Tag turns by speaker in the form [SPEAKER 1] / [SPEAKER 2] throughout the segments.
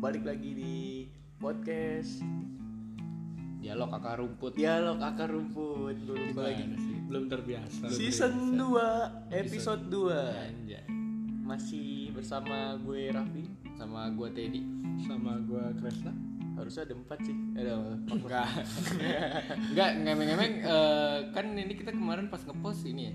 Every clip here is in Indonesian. [SPEAKER 1] balik lagi di podcast
[SPEAKER 2] dialog kakak rumput
[SPEAKER 1] dialog akar rumput Gua lupa lagi
[SPEAKER 2] Gimana sih?
[SPEAKER 3] belum terbiasa
[SPEAKER 1] season 2 episode 2
[SPEAKER 2] Anjay.
[SPEAKER 1] masih bersama gue Raffi
[SPEAKER 2] sama gua Teddy
[SPEAKER 3] sama gua Kresna
[SPEAKER 1] harusnya ada empat sih ada
[SPEAKER 2] Ya enggak enggak ngemeng-ngemeng eh, kan ini kita kemarin pas ngepost ini ya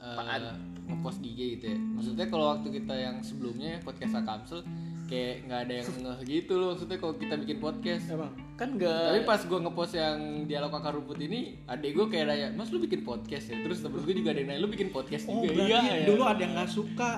[SPEAKER 2] Eh, ngepost di IG gitu ya maksudnya kalau waktu kita yang sebelumnya podcast Akamsul kayak nggak ada yang ngeh gitu loh maksudnya kalau kita bikin podcast
[SPEAKER 3] emang
[SPEAKER 1] kan enggak
[SPEAKER 2] Tapi pas gue ngepost yang dialog kakak rumput ini, adek gue kayak nanya, mas lu bikin podcast ya? Terus temen gue juga ada yang nanya, lu bikin podcast
[SPEAKER 3] oh
[SPEAKER 2] juga?
[SPEAKER 3] berarti
[SPEAKER 2] ya.
[SPEAKER 3] dulu ada yang nggak suka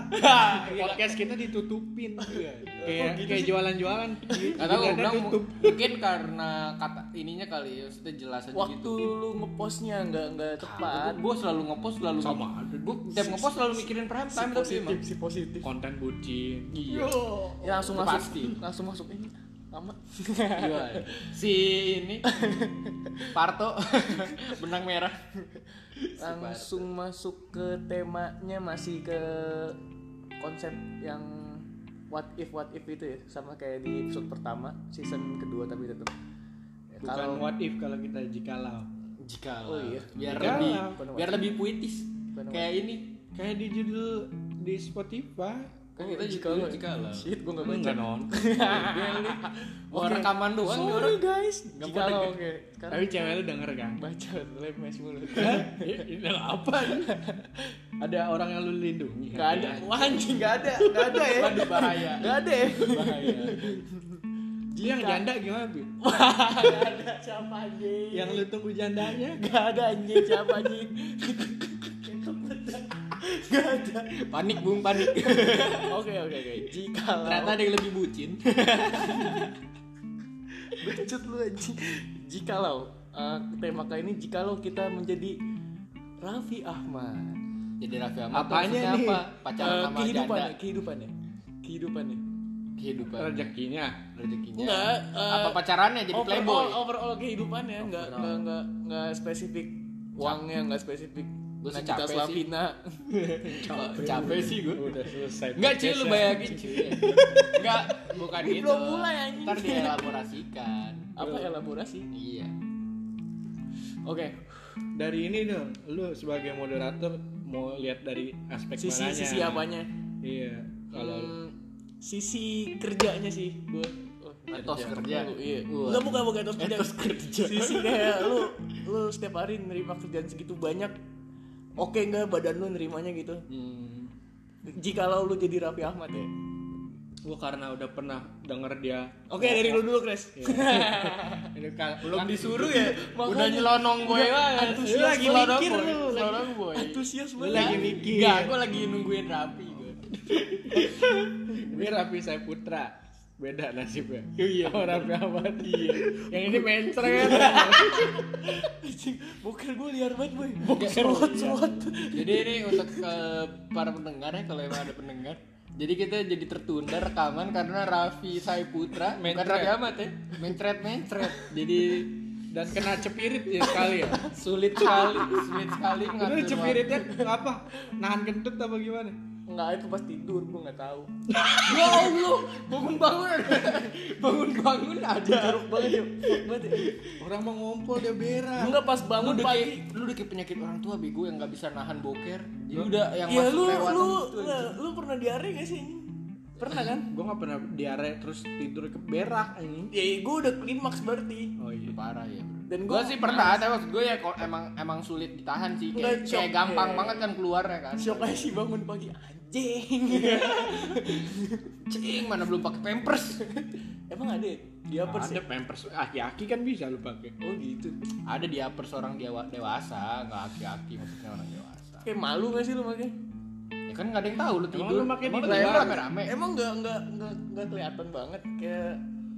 [SPEAKER 1] Iya,
[SPEAKER 3] podcast kita ditutupin Iya.
[SPEAKER 1] Oh,
[SPEAKER 3] kayak
[SPEAKER 1] gitu
[SPEAKER 3] kayak jualan-jualan
[SPEAKER 2] Gak tau, gue
[SPEAKER 3] Jualannya
[SPEAKER 2] bilang
[SPEAKER 3] tutup.
[SPEAKER 2] mungkin karena kata ininya kali ya, maksudnya jelas aja
[SPEAKER 1] waktu
[SPEAKER 2] gitu.
[SPEAKER 1] lu ngepostnya nggak nggak tepat
[SPEAKER 2] Gue selalu ngepost, selalu
[SPEAKER 3] Sama aja.
[SPEAKER 2] Gue tiap ngepost selalu mikirin prime time tapi emang.
[SPEAKER 1] si positif
[SPEAKER 3] konten bucin
[SPEAKER 2] Iya.
[SPEAKER 1] ya langsung masuk
[SPEAKER 2] Pasti.
[SPEAKER 1] langsung masuk ini lama
[SPEAKER 2] Iya. Si ini Parto benang merah.
[SPEAKER 1] langsung masuk ke temanya masih ke konsep yang what if what if itu ya sama kayak di episode pertama season kedua tapi tetap Ya,
[SPEAKER 3] bukan what if kalau kita jikalau
[SPEAKER 2] Jika
[SPEAKER 1] Oh iya.
[SPEAKER 2] biar
[SPEAKER 3] Jikalau.
[SPEAKER 2] lebih
[SPEAKER 1] Bukan
[SPEAKER 2] biar lebih puitis.
[SPEAKER 1] Bukan
[SPEAKER 2] Kayak ini
[SPEAKER 3] kayak di judul di Spotify
[SPEAKER 2] kan kita jika
[SPEAKER 1] jikalau.
[SPEAKER 2] jika lah.
[SPEAKER 1] gitu. shit gue nggak baca Iya,
[SPEAKER 3] enggak nonton
[SPEAKER 2] Mau rekaman doang nih
[SPEAKER 1] sorry
[SPEAKER 2] orang.
[SPEAKER 1] guys
[SPEAKER 2] Nggak
[SPEAKER 1] jika
[SPEAKER 2] boleh.
[SPEAKER 1] oke sekarang
[SPEAKER 3] tapi cewek lu denger kan
[SPEAKER 1] baca lemes mulu Iya.
[SPEAKER 3] ini apa ada orang yang lu lindungi
[SPEAKER 1] nggak ada wah anjing nggak ada nggak ada ya
[SPEAKER 2] Waduh, bahaya.
[SPEAKER 1] nggak ada ya
[SPEAKER 2] Bahaya.
[SPEAKER 3] Dia yang janda gimana bi
[SPEAKER 1] nggak ada siapa anjing
[SPEAKER 3] yang lu tunggu jandanya
[SPEAKER 1] nggak ada anjing siapa anjing nggak ada
[SPEAKER 2] Panik bung panik.
[SPEAKER 1] oke oke oke jika
[SPEAKER 2] Ternyata ada yang lebih bucin.
[SPEAKER 1] Becut lu anjing. Jikalau eh, tema kali ini jikalau kita menjadi Raffi Ahmad.
[SPEAKER 2] Jadi Raffi Ahmad tuh
[SPEAKER 3] Apanya
[SPEAKER 2] maksudnya
[SPEAKER 3] nih?
[SPEAKER 2] apa? Pacaran
[SPEAKER 1] Eh,
[SPEAKER 2] sama
[SPEAKER 1] kehidupannya,
[SPEAKER 2] janda.
[SPEAKER 1] kehidupannya. Kehidupannya.
[SPEAKER 2] Kehidupan.
[SPEAKER 3] rezekinya
[SPEAKER 2] Rezekinya.
[SPEAKER 1] Enggak, eh, oh,
[SPEAKER 2] apa pacarannya jadi
[SPEAKER 1] overall,
[SPEAKER 2] playboy? Hmm,
[SPEAKER 1] overall ya, kehidupannya enggak
[SPEAKER 2] Overall.
[SPEAKER 1] enggak enggak enggak spesifik uangnya enggak spesifik.
[SPEAKER 2] Gua sih
[SPEAKER 1] Nagita
[SPEAKER 2] capek sih.
[SPEAKER 1] Slavina.
[SPEAKER 2] Capek, capek sih gue.
[SPEAKER 3] udah selesai
[SPEAKER 2] Enggak cuy lu bayangin cuy. Enggak, bukan
[SPEAKER 1] Ini
[SPEAKER 2] gitu.
[SPEAKER 1] belum mulai, anjing.
[SPEAKER 2] Ntar dielaborasikan.
[SPEAKER 1] Apa ya, elaborasi?
[SPEAKER 2] Iya.
[SPEAKER 1] Oke.
[SPEAKER 3] dari ini dong lu sebagai moderator mau lihat dari aspek
[SPEAKER 1] Sisi
[SPEAKER 3] mananya
[SPEAKER 1] sisi apanya?
[SPEAKER 3] iya kalau
[SPEAKER 1] Hmm, sisi kerjanya sih Oh, gue
[SPEAKER 2] Etos kerja.
[SPEAKER 1] iya
[SPEAKER 2] Wah.
[SPEAKER 1] nggak bukan bukan etos kerja
[SPEAKER 2] Etos kerja.
[SPEAKER 1] sisi kayak lu lu setiap hari nerima kerjaan segitu banyak oke nggak badan lu nerimanya gitu
[SPEAKER 3] hmm,
[SPEAKER 1] jikalau lu jadi Raffi Ahmad ya
[SPEAKER 3] gua karena udah pernah denger dia
[SPEAKER 1] oke dari lu dulu Chris
[SPEAKER 3] ini kan
[SPEAKER 2] Belum disuruh ya.
[SPEAKER 1] Makanya.
[SPEAKER 2] Udah nyelonong boy banget.
[SPEAKER 1] antusias
[SPEAKER 2] Lu lagi
[SPEAKER 1] banget. Mikir lu,
[SPEAKER 2] nyelonong boy.
[SPEAKER 1] Iya, lagi-
[SPEAKER 2] Nyelonong boy.
[SPEAKER 1] antusias
[SPEAKER 3] Lu
[SPEAKER 1] banget
[SPEAKER 3] lagi mikir
[SPEAKER 2] Enggak, gue lagi nungguin rapi gue.
[SPEAKER 3] ini Raffi Saputra beda nasibnya iya sama Raffi Ahmad iya yang ini mencret
[SPEAKER 1] Anjing, boker gue liar banget boy serot serot
[SPEAKER 2] Jadi ini untuk eh, para pendengar ya kalau emang ada pendengar. Jadi kita jadi tertunda rekaman karena Raffi Saiputra bukan
[SPEAKER 3] Mencret.
[SPEAKER 2] Raffi Ahmad ya, mencret mencret. Jadi
[SPEAKER 3] dan kena cepirit ya sekali ya
[SPEAKER 2] sulit sekali, sulit sekali
[SPEAKER 3] Udah
[SPEAKER 2] mengatur waktu.
[SPEAKER 3] cepiritnya apa? Nahan kentut apa gimana?
[SPEAKER 1] nggak itu pas tidur gue nggak tahu
[SPEAKER 2] Ya Allah, bangun bangun ada, bangun bangun ada.
[SPEAKER 1] jeruk banget ya fuck banget ya.
[SPEAKER 3] Orang mau ngompol dia berak.
[SPEAKER 1] nggak pas
[SPEAKER 2] Lu
[SPEAKER 1] bangun
[SPEAKER 2] udah
[SPEAKER 1] pagi
[SPEAKER 2] kayak, lu udah kayak penyakit orang tua bego yang nggak bisa nahan boker. Jadi udah yang
[SPEAKER 1] ya
[SPEAKER 2] masuk
[SPEAKER 1] lu
[SPEAKER 2] lewat
[SPEAKER 1] lu
[SPEAKER 2] gitu.
[SPEAKER 1] nah, lu pernah diare gak sih anjing? pernah kan
[SPEAKER 3] Gue gak pernah diare terus tidur ke berak ini.
[SPEAKER 1] ya gue udah klimaks berarti
[SPEAKER 3] Oh iya.
[SPEAKER 2] parah ya. bro.
[SPEAKER 1] Dan
[SPEAKER 2] gua
[SPEAKER 1] gua-
[SPEAKER 2] sih pernah, tapi maksud gue ya kalau emang emang sulit ditahan sih kayak,
[SPEAKER 1] Enggak,
[SPEAKER 2] kayak
[SPEAKER 1] shock.
[SPEAKER 2] gampang
[SPEAKER 1] Iya.
[SPEAKER 2] banget kan keluarnya kan.
[SPEAKER 1] Syok aja sih bangun pagi anjing.
[SPEAKER 2] Cing, mana belum pakai pampers.
[SPEAKER 1] Emang ada ya? diapers ya?
[SPEAKER 3] Ada pampers aki-aki kan bisa lu pakai.
[SPEAKER 1] Oh gitu.
[SPEAKER 2] Ada di apers orang dewa- dewasa, nggak aki-aki maksudnya orang dewasa.
[SPEAKER 1] Kayak malu gak sih lu pakai?
[SPEAKER 2] Ya kan nggak ada yang tahu lu tidur.
[SPEAKER 3] lu pakai di
[SPEAKER 2] tidur
[SPEAKER 3] layar?
[SPEAKER 2] rame-rame.
[SPEAKER 1] Emang nggak nggak nggak nggak kelihatan banget kayak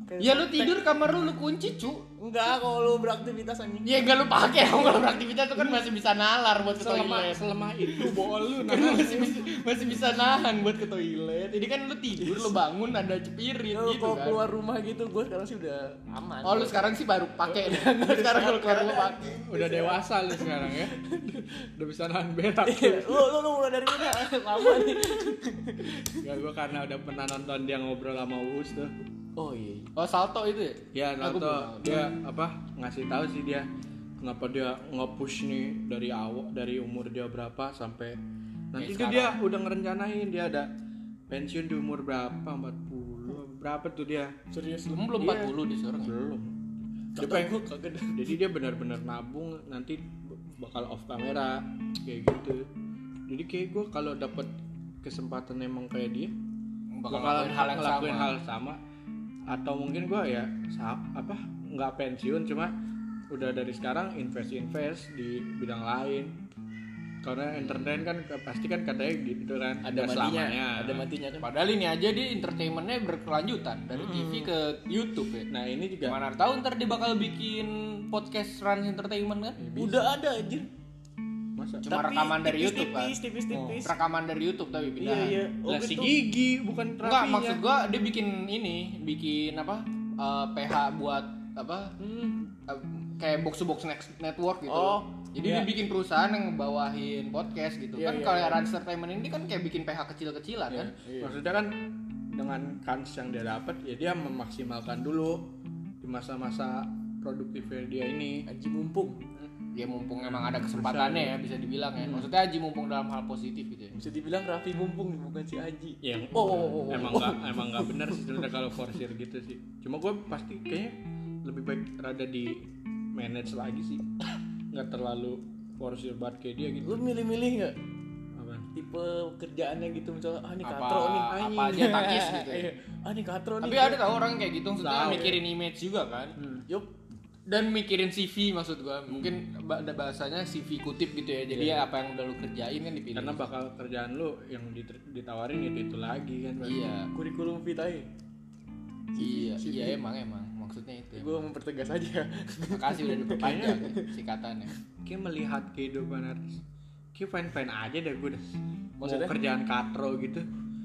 [SPEAKER 1] kayak
[SPEAKER 2] Ya lu tidur kamar lu lu kunci cu.
[SPEAKER 1] Enggak kalau lu beraktivitas anjing.
[SPEAKER 2] Ya enggak lu pakai dong kalau beraktivitas tuh kan masih bisa nalar buat ke
[SPEAKER 3] Selama
[SPEAKER 2] toilet.
[SPEAKER 3] selama itu bool lu
[SPEAKER 2] Kan
[SPEAKER 3] nahan.
[SPEAKER 2] masih bisa, masih bisa nahan buat ke toilet. Ini kan lu tidur lu bangun ada cepirit
[SPEAKER 1] Ya, lu
[SPEAKER 2] gitu
[SPEAKER 1] kalau
[SPEAKER 2] kan.
[SPEAKER 1] keluar rumah gitu, gue sekarang sih udah aman.
[SPEAKER 2] Oh lu sekarang sih baru pakai nih. Lu sekarang kalau keluar lu pakai.
[SPEAKER 3] Udah dewasa lu sekarang ya. Udah bisa nahan berak.
[SPEAKER 1] Iya, lu lu lu mulai dari mana? Lama nih.
[SPEAKER 3] Ya gue karena udah pernah nonton dia ngobrol sama Uus tuh.
[SPEAKER 1] oh iya
[SPEAKER 2] Oh salto itu ya?
[SPEAKER 3] Ya
[SPEAKER 2] Aku belum
[SPEAKER 3] Naruto dia apa ngasih tahu sih dia kenapa dia nge-push nih dari awal dari umur dia berapa sampai nanti tuh dia udah ngerencanain dia ada pensiun di umur berapa 40 berapa tuh dia
[SPEAKER 1] serius
[SPEAKER 2] Emang belum 40 di seorang.
[SPEAKER 3] belum dia
[SPEAKER 1] Kata
[SPEAKER 3] pengen-
[SPEAKER 1] gue kagak ada.
[SPEAKER 3] jadi dia benar-benar nabung nanti bakal off kamera kayak gitu jadi kayak gue kalau dapat kesempatan emang kayak dia
[SPEAKER 2] Bakal ngelakuin hal yang
[SPEAKER 3] ngelakuin
[SPEAKER 2] sama.
[SPEAKER 3] hal sama atau mungkin gue ya sahab- apa nggak pensiun cuma udah dari sekarang invest invest di bidang lain karena entertain kan ke- pasti kan katanya gitu kan
[SPEAKER 1] ada
[SPEAKER 3] nggak
[SPEAKER 1] matinya
[SPEAKER 3] selamanya.
[SPEAKER 1] ada matinya kan
[SPEAKER 2] Ya, Padahal ini aja di entertainmentnya berkelanjutan dari TV
[SPEAKER 1] Hmm.
[SPEAKER 2] ke YouTube ya.
[SPEAKER 3] nah ini juga
[SPEAKER 2] Mana tahu ntar dia bakal bikin podcast Rans Entertainment kan?
[SPEAKER 1] udah ada anjir
[SPEAKER 3] masa
[SPEAKER 2] Cuma rekaman dari YouTube kan?
[SPEAKER 1] tipis tipis tipis
[SPEAKER 2] Rekaman dari YouTube tapi
[SPEAKER 1] iya
[SPEAKER 2] pindahan.
[SPEAKER 1] iya
[SPEAKER 3] lah si
[SPEAKER 1] gitu.
[SPEAKER 3] gigi bukan terapinya
[SPEAKER 2] Enggak,
[SPEAKER 1] ya.
[SPEAKER 2] maksud gua dia bikin ini, bikin apa? eh, PH buat apa?
[SPEAKER 1] Hmm.
[SPEAKER 2] eh, kayak box to box next network gitu.
[SPEAKER 1] Oh,
[SPEAKER 2] Jadi dia bikin perusahaan yang ngebawahin podcast gitu.
[SPEAKER 1] Iya,
[SPEAKER 2] kan
[SPEAKER 1] iya,
[SPEAKER 2] kalau Rans Entertainment ini kan kayak bikin PH kecil-kecilan kan.
[SPEAKER 3] Maksudnya kan dengan kans yang dia dapat ya dia memaksimalkan dulu di masa-masa produktifnya dia ini.
[SPEAKER 1] Aji mumpung
[SPEAKER 2] Ya mumpung emang ada kesempatannya ya bisa dibilang ya. Maksudnya Aji mumpung dalam hal positif gitu ya.
[SPEAKER 1] bisa dibilang Raffi mumpung bukan si Aji
[SPEAKER 2] Iya.
[SPEAKER 3] Yang
[SPEAKER 1] oh, oh, oh, oh.
[SPEAKER 3] emang nggak emang nggak benar sih sebenarnya kalau forsir gitu sih. Cuma gue pasti kayaknya lebih baik rada di manage lagi sih. Nggak terlalu forsir banget kayak dia gitu.
[SPEAKER 1] lu milih-milih nggak
[SPEAKER 3] Apa?
[SPEAKER 1] tipe kerjaannya gitu misalnya ah ini
[SPEAKER 2] Apa-
[SPEAKER 1] katro nih
[SPEAKER 2] apa
[SPEAKER 1] anjing.
[SPEAKER 2] aja takis gitu ya.
[SPEAKER 1] Iya. ah ini katro nih
[SPEAKER 2] Tapi ada tau orang kayak gitu maksudnya
[SPEAKER 3] Tahu.
[SPEAKER 2] mikirin image juga kan.
[SPEAKER 1] yup
[SPEAKER 2] Dan mikirin CV maksud gua. Mungkin ba- ada bahasanya CV kutip gitu ya. Jadi ya apa yang udah lu kerjain kan dipilih.
[SPEAKER 3] Karena bakal kerjaan lu yang diter- ditawarin itu itu lagi kan.
[SPEAKER 2] iya.
[SPEAKER 1] kurikulum vitae
[SPEAKER 2] Iya, iya emang emang maksudnya itu. ya.
[SPEAKER 1] gue mempertegas aja
[SPEAKER 2] Makasih udah diperpanjang ya, sikatannya.
[SPEAKER 3] Kayak melihat kehidupan artis. Kayak fine-fine aja deh gue dah.
[SPEAKER 1] Maksudnya?
[SPEAKER 3] Mau kerjaan katro gitu.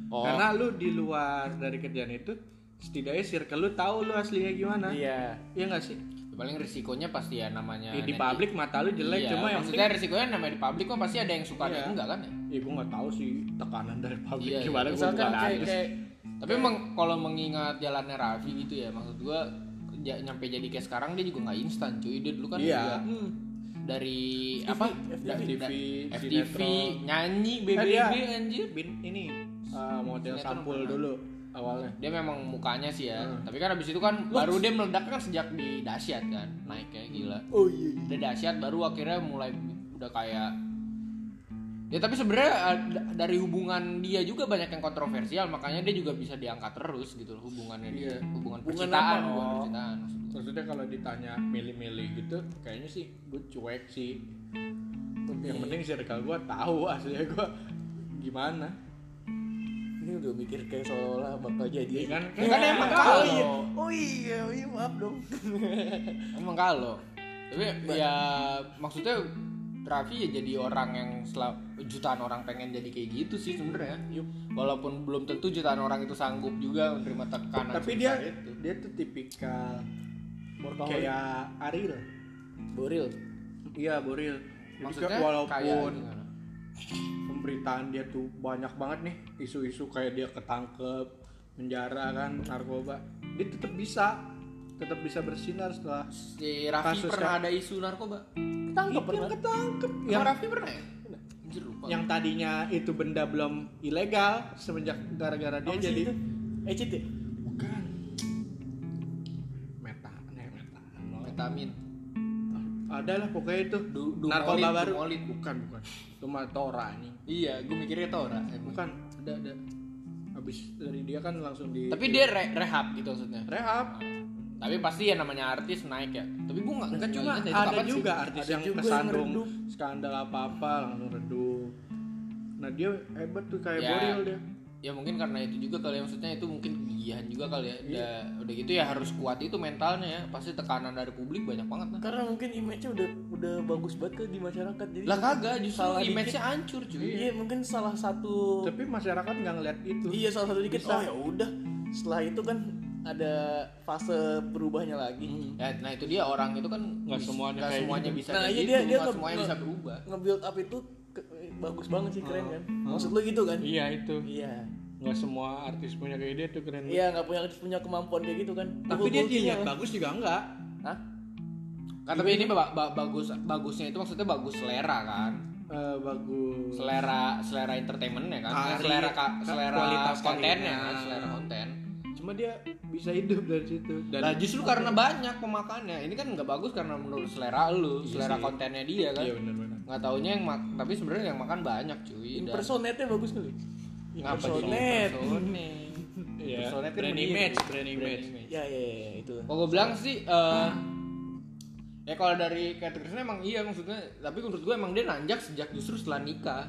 [SPEAKER 1] Oh.
[SPEAKER 3] Karena lu di luar dari kerjaan itu setidaknya circle lu tahu lu aslinya gimana.
[SPEAKER 1] iya
[SPEAKER 3] Iya nggak sih?
[SPEAKER 2] Ya, Paling risikonya pasti ya namanya.
[SPEAKER 3] Di- di
[SPEAKER 2] netizen.
[SPEAKER 3] publik mata lu jelek
[SPEAKER 2] Iya,
[SPEAKER 3] cuma yang
[SPEAKER 2] maksudnya
[SPEAKER 3] penting
[SPEAKER 2] risikonya namanya di publik kan pasti ada yang suka ada yang enggak kan ya.
[SPEAKER 3] ya gue nggak tahu sih tekanan dari publik
[SPEAKER 2] Iya, iya.
[SPEAKER 3] gimana gitu. gue
[SPEAKER 1] misalkan
[SPEAKER 3] bukan
[SPEAKER 1] kayak,
[SPEAKER 3] artis.
[SPEAKER 1] kayak
[SPEAKER 2] Tapi emang kalau mengingat jalannya Raffi gitu ya, maksud gua ja- nyampe jadi kayak sekarang dia juga nggak instan cuy. Dia dulu kan
[SPEAKER 3] Iya.
[SPEAKER 2] juga
[SPEAKER 1] hmm,
[SPEAKER 2] dari apa?
[SPEAKER 3] FTV,
[SPEAKER 2] Da- FTV,
[SPEAKER 3] sinetron.
[SPEAKER 2] nyanyi
[SPEAKER 3] Kan
[SPEAKER 2] BBB
[SPEAKER 3] dia
[SPEAKER 2] anjir.
[SPEAKER 3] bin ini eh, model
[SPEAKER 2] Sinetron
[SPEAKER 3] sampul
[SPEAKER 2] pernah.
[SPEAKER 3] dulu awalnya.
[SPEAKER 2] Dia memang mukanya sih ya.
[SPEAKER 3] Hmm.
[SPEAKER 2] Tapi kan abis itu kan baru dia meledak kan sejak di dahsyat kan. Naiknya gila.
[SPEAKER 1] oh iya iya.
[SPEAKER 2] udah dahsyat baru akhirnya mulai udah kayak ya tapi sebenarnya uh, d- dari hubungan dia juga banyak yang kontroversial makanya dia juga bisa diangkat terus gitu loh hubungannya dia
[SPEAKER 3] Iya.
[SPEAKER 2] hubungan percintaan
[SPEAKER 1] apa?
[SPEAKER 2] hubungan
[SPEAKER 1] Oh.
[SPEAKER 2] percintaan maksud gua.
[SPEAKER 3] Maksudnya kalau ditanya milih-milih gitu, kayaknya sih gue cuek sih. Yang penting circle gue tahu aslinya gue gimana.
[SPEAKER 1] ini udah mikir kayak seolah bakal
[SPEAKER 3] Iya
[SPEAKER 1] jadi
[SPEAKER 3] kan?
[SPEAKER 2] Ya kan emang kalau
[SPEAKER 1] oh iya oh iya oh iya maaf dong
[SPEAKER 2] emang kalau tapi ya maksudnya Raffi ya jadi orang yang sel- jutaan orang pengen jadi kayak gitu sih sebenarnya walaupun belum tentu jutaan orang itu sanggup juga menerima tekanan
[SPEAKER 3] Tapi dia
[SPEAKER 2] sebesar itu.
[SPEAKER 3] dia tuh tipikal
[SPEAKER 1] Workaholic.
[SPEAKER 3] kayak Ariel.
[SPEAKER 1] boril
[SPEAKER 3] Iya, Boril. Jadi
[SPEAKER 2] maksudnya
[SPEAKER 3] kayak walaupun
[SPEAKER 2] kayak gimana?
[SPEAKER 3] pemberitaan dia tuh banyak banget nih isu-isu kayak dia ketangkep, penjara kan, narkoba, dia tetap bisa tetap bisa bersinar setelah
[SPEAKER 2] si Raffi
[SPEAKER 3] Kasus
[SPEAKER 2] pernah
[SPEAKER 3] kan?
[SPEAKER 2] ada isu narkoba
[SPEAKER 1] ketangkep
[SPEAKER 3] Itu yang
[SPEAKER 1] pernah
[SPEAKER 3] ketangkep
[SPEAKER 2] Yang
[SPEAKER 3] yang
[SPEAKER 2] Raffi pernah ya? Anjir lupa.
[SPEAKER 3] yang tadinya itu benda belum ilegal semenjak gara-gara dia
[SPEAKER 1] Apa sih
[SPEAKER 3] jadi
[SPEAKER 1] itu? Eh, ya? ECT
[SPEAKER 3] bukan meta eh, metanol.
[SPEAKER 2] vitamin.
[SPEAKER 3] ada lah pokoknya itu
[SPEAKER 2] Du- dumolid,
[SPEAKER 3] narkoba baru
[SPEAKER 2] dumolid.
[SPEAKER 3] bukan bukan cuma tora nih
[SPEAKER 2] Iya, gue mikirnya Tora.
[SPEAKER 3] bukan ada ada habis dari dia kan langsung di
[SPEAKER 2] Tapi dia re- rehab gitu maksudnya.
[SPEAKER 3] rehab
[SPEAKER 2] Tapi pasti ya namanya artis naik ya. Tapi gue nggak
[SPEAKER 3] Enggak
[SPEAKER 2] nggak
[SPEAKER 3] cuma
[SPEAKER 2] ingat ya, itu
[SPEAKER 3] ada
[SPEAKER 2] kapan sih?
[SPEAKER 3] juga artis
[SPEAKER 1] Ada
[SPEAKER 3] yang
[SPEAKER 1] juga yang
[SPEAKER 3] kesandung
[SPEAKER 1] redup.
[SPEAKER 3] skandal apa-apa langsung redup. Nah, dia hebat tuh kayak
[SPEAKER 2] Ya.
[SPEAKER 3] Boril dia.
[SPEAKER 2] Ya mungkin karena itu juga kali ya maksudnya itu mungkin kegigihan juga kali ya. Udah, udah gitu ya harus kuat itu mentalnya ya. Pasti tekanan dari publik banyak banget lah.
[SPEAKER 1] karena mungkin image-nya udah udah bagus banget ke di masyarakat jadi
[SPEAKER 2] Lah kagak justru
[SPEAKER 1] Salah dikit.
[SPEAKER 2] image-nya hancur cuy.
[SPEAKER 1] iya mungkin salah satu
[SPEAKER 3] Tapi masyarakat nggak ngeliat itu.
[SPEAKER 1] Iya salah satu dikit. Oh ya udah. Setelah itu kan ada fase berubahnya lagi.
[SPEAKER 2] Ya, nah itu dia orang itu kan
[SPEAKER 3] Nggak
[SPEAKER 2] bis-
[SPEAKER 3] semuanya
[SPEAKER 2] nggak
[SPEAKER 3] kayak
[SPEAKER 2] semuanya bisa
[SPEAKER 1] Nah,
[SPEAKER 2] kayak
[SPEAKER 1] iya, dia-
[SPEAKER 2] gitu,
[SPEAKER 1] dia
[SPEAKER 2] nggak
[SPEAKER 1] nggak-
[SPEAKER 2] semuanya
[SPEAKER 1] nggak-
[SPEAKER 2] bisa berubah.
[SPEAKER 1] Nge-build up itu ke- bagus banget sih keren kan. Maksud Oh. lu gitu kan?
[SPEAKER 3] Iya, itu.
[SPEAKER 1] Iya.
[SPEAKER 3] nggak semua artis punya kayak dia tuh keren
[SPEAKER 1] Iya nggak punya punya kemampuan kayak gitu kan.
[SPEAKER 3] tapi
[SPEAKER 1] Gua-
[SPEAKER 3] dia ya,
[SPEAKER 1] gua-
[SPEAKER 3] nyanyi
[SPEAKER 1] gua-
[SPEAKER 3] bagus juga enggak
[SPEAKER 1] Hah?
[SPEAKER 2] Kan tapi ini ba- ba- bagus bagusnya itu maksudnya bagus selera kan.
[SPEAKER 3] Eh, bagus
[SPEAKER 2] Selera selera entertainmentnya kan.
[SPEAKER 3] Kari-
[SPEAKER 2] selera ka-
[SPEAKER 3] ka-
[SPEAKER 2] selera
[SPEAKER 3] kualitas
[SPEAKER 2] kontennya
[SPEAKER 3] karya.
[SPEAKER 2] kan, selera konten.
[SPEAKER 3] cuma dia bisa hidup dari situ dan
[SPEAKER 2] Nah justru karena banyak pemakannya, ini kan nggak bagus karena menurut selera lu, selera kontennya dia kan.
[SPEAKER 3] iya benar-benar
[SPEAKER 2] Nggak taunya yang mak- tapi sebenarnya yang makan banyak cuy. Dan-
[SPEAKER 1] Impersonate-nya bagus kali.
[SPEAKER 2] Ngapa jadi
[SPEAKER 1] Impersonate.
[SPEAKER 2] impersonate? Impersonate kan
[SPEAKER 3] brand
[SPEAKER 2] meniru.
[SPEAKER 3] Iya. image brand image
[SPEAKER 1] Ya ya ya ya, itu.
[SPEAKER 2] Kalau gue bilang sih, eh ya kalau dari kategorisnya emang iya maksudnya, tapi menurut gue emang dia nanjak sejak justru setelah nikah.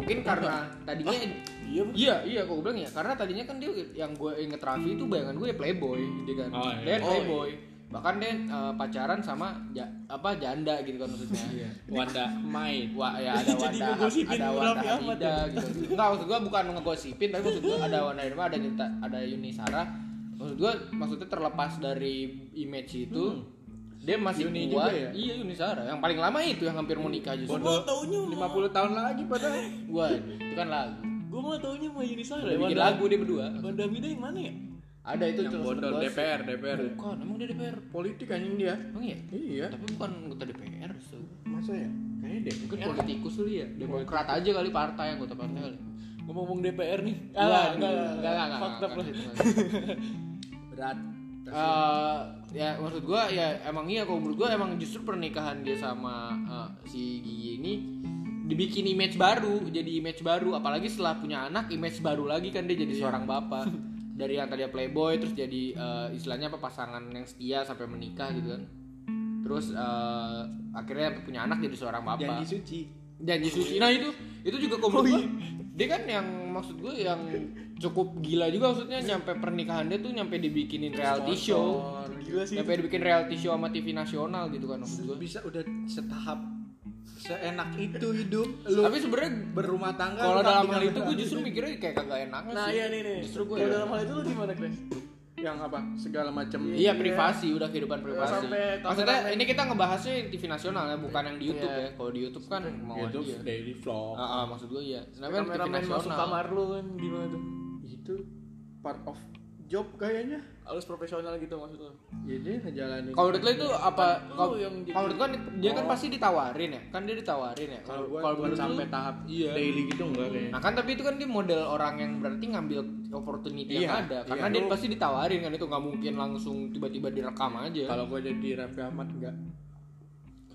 [SPEAKER 2] Mungkin karena tadinya,
[SPEAKER 1] Iya. Bu.
[SPEAKER 2] iya iya kalau gue bilang ya, karena tadinya kan dia yang gue inget Raffi itu bayangan gue ya playboy, dia kan,
[SPEAKER 3] Oh, iya.
[SPEAKER 2] dia playboy. Bahkan dia eh, pacaran sama ja- apa janda gitu kan maksudnya.
[SPEAKER 3] Wanda Mai
[SPEAKER 2] Wah, ya ada
[SPEAKER 1] Jadi
[SPEAKER 2] Wanda,
[SPEAKER 1] ngegosipin
[SPEAKER 2] ada
[SPEAKER 1] Raffi
[SPEAKER 2] Wanda
[SPEAKER 1] Ahmad
[SPEAKER 2] Hamida gitu. Enggak, maksud gua bukan ngegosipin, tapi maksud gua ada Wanda Irma, ada Yunita, ada Yuni Sara. Maksud gua maksudnya terlepas dari image itu, dia masih
[SPEAKER 3] Yuni
[SPEAKER 2] kuat.
[SPEAKER 3] juga ya?
[SPEAKER 2] Iya, Yuni Sara. Yang paling lama itu yang hampir mau nikah justru.
[SPEAKER 1] Gua taunya mah
[SPEAKER 3] 50 tahun lagi padahal
[SPEAKER 2] Gua itu kan lagu.
[SPEAKER 1] gua mah taunya mah Yunisara.
[SPEAKER 2] Dia bikin lagu dia berdua.
[SPEAKER 1] Banda Mida yang mana ya?
[SPEAKER 2] Ada itu
[SPEAKER 3] yang
[SPEAKER 2] terus
[SPEAKER 3] bodol
[SPEAKER 2] berdua.
[SPEAKER 3] DPR DPR
[SPEAKER 2] Bukan, emang dia DPR.
[SPEAKER 3] politik anjing dia
[SPEAKER 2] Emang iya?
[SPEAKER 3] iya
[SPEAKER 2] Tapi bukan anggota DPR, so.
[SPEAKER 3] masa ya kayaknya DPR
[SPEAKER 2] Mungkin politikus lu ya, demokrat aja kali partai anggota partai kali.
[SPEAKER 1] Ngomong-ngomong DPR nih. Ah,
[SPEAKER 2] Enggak,
[SPEAKER 1] enggak,
[SPEAKER 2] enggak, enggak, enggak, enggak,
[SPEAKER 1] Fucked up
[SPEAKER 2] enggak,
[SPEAKER 1] lah.
[SPEAKER 2] enggak,
[SPEAKER 3] berat
[SPEAKER 2] Eh, ya maksud gua ya emang iya kalau menurut gua emang justru pernikahan dia sama eh, si Gigi ini dibikin image baru jadi image baru apalagi setelah punya anak image baru lagi kan dia jadi seorang bapak dari yang tadi playboy terus jadi eh, istilahnya apa pasangan yang setia sampai menikah gitu kan terus eh, akhirnya punya anak jadi seorang bapak
[SPEAKER 3] janji suci
[SPEAKER 2] janji
[SPEAKER 1] Iya,
[SPEAKER 2] suci nah itu itu juga komedi dia kan yang maksud gue yang cukup gila juga maksudnya nyampe pernikahan dia tuh nyampe dibikinin reality show
[SPEAKER 1] Gila sih.
[SPEAKER 2] nyampe dibikin reality show sama TV nasional gitu kan maksud gue
[SPEAKER 3] bisa udah setahap seenak itu hidup lu
[SPEAKER 2] tapi sebenarnya
[SPEAKER 3] berumah tangga
[SPEAKER 2] kalau
[SPEAKER 3] lu
[SPEAKER 2] dalam hal
[SPEAKER 3] ramping-
[SPEAKER 2] itu gue justru mikirnya kayak kagak enak
[SPEAKER 1] Nah,
[SPEAKER 2] sih
[SPEAKER 1] iya nih nih.
[SPEAKER 2] Justru gue
[SPEAKER 1] Kalau
[SPEAKER 2] ya.
[SPEAKER 1] dalam hal itu lu gimana, Chris?
[SPEAKER 3] yang apa segala macam
[SPEAKER 2] Iya privasi udah kehidupan privasi.
[SPEAKER 1] Sampai
[SPEAKER 2] Maksudnya
[SPEAKER 1] kameramen.
[SPEAKER 2] ini kita ngebahasnya yang TV nasional ya bukan yang di YouTube
[SPEAKER 1] Iya.
[SPEAKER 2] ya. Kalau di YouTube kan mau
[SPEAKER 3] itu
[SPEAKER 2] aja.
[SPEAKER 3] daily vlog
[SPEAKER 2] Ah, ah, maksud gue iya. Kenapa TV
[SPEAKER 1] Kameramen masuk
[SPEAKER 2] nasional?
[SPEAKER 1] kamar lu kan gimana tuh?
[SPEAKER 3] itu part of job kayaknya
[SPEAKER 1] Harus profesional gitu maksud lu.
[SPEAKER 3] ya dia ngejalanin
[SPEAKER 2] Kalau menurut lo itu apa?
[SPEAKER 1] Kan lu
[SPEAKER 2] Kalau
[SPEAKER 1] yang jadi-
[SPEAKER 2] kalau menurut lo dia kan pasti ditawarin ya, kan dia ditawarin ya.
[SPEAKER 3] kalau gua
[SPEAKER 2] kalau
[SPEAKER 3] belum
[SPEAKER 2] menurut
[SPEAKER 3] sampai
[SPEAKER 2] lo-
[SPEAKER 3] tahap
[SPEAKER 2] iya.
[SPEAKER 3] daily gitu enggak kayaknya
[SPEAKER 2] Nah kan tapi itu kan dia model orang yang berarti ngambil opportunity yang
[SPEAKER 3] Iya,
[SPEAKER 2] ada,
[SPEAKER 3] iya,
[SPEAKER 2] karena dia
[SPEAKER 3] lu-
[SPEAKER 2] pasti ditawarin kan itu nggak mungkin langsung tiba-tiba direkam aja.
[SPEAKER 3] kalau gua jadi Raffi Ahmad enggak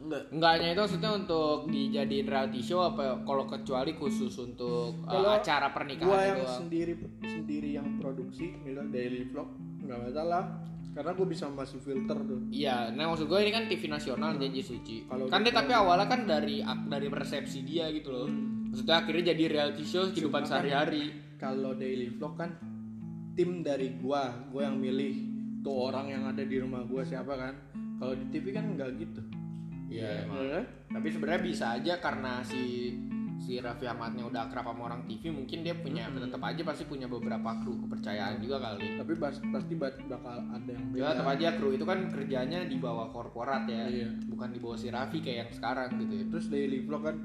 [SPEAKER 1] Enggak.
[SPEAKER 2] Enggaknya itu maksudnya untuk dijadiin reality show apa? Kalau kecuali khusus untuk uh,
[SPEAKER 3] Kalau
[SPEAKER 2] acara pernikahan
[SPEAKER 3] gua yang
[SPEAKER 2] doang.
[SPEAKER 3] sendiri sendiri yang produksi misal daily vlog nggak masalah karena gua bisa masih filter tuh
[SPEAKER 2] Iya, nah maksud gue ini kan TV nasional janji suci.
[SPEAKER 3] Kalau
[SPEAKER 2] kan dia
[SPEAKER 3] udah-
[SPEAKER 2] tapi awalnya kan dari ak- dari persepsi dia gitu loh. Maksudnya akhirnya jadi reality show kehidupan
[SPEAKER 3] Hmm. kan-
[SPEAKER 2] sehari-hari.
[SPEAKER 3] kalau daily vlog kan tim dari gua gua yang milih tuh orang yang ada di rumah gua siapa kan kalau di TV kan nggak gitu
[SPEAKER 2] Iya, emang.
[SPEAKER 3] Bener kan?
[SPEAKER 2] Tapi sebenarnya bisa aja karena si si Raffi Ahmadnya udah akrab sama orang TV, mungkin dia punya tetap aja pasti punya beberapa kru kepercayaan juga kali.
[SPEAKER 3] tapi bas- pasti bak- bakal ada
[SPEAKER 2] Ya,
[SPEAKER 3] yang beda
[SPEAKER 2] tetap aja kru itu kan kerjanya di bawah korporat ya,
[SPEAKER 3] Iya.
[SPEAKER 2] bukan di bawah si Raffi kayak yang sekarang gitu ya.
[SPEAKER 3] terus daily vlog kan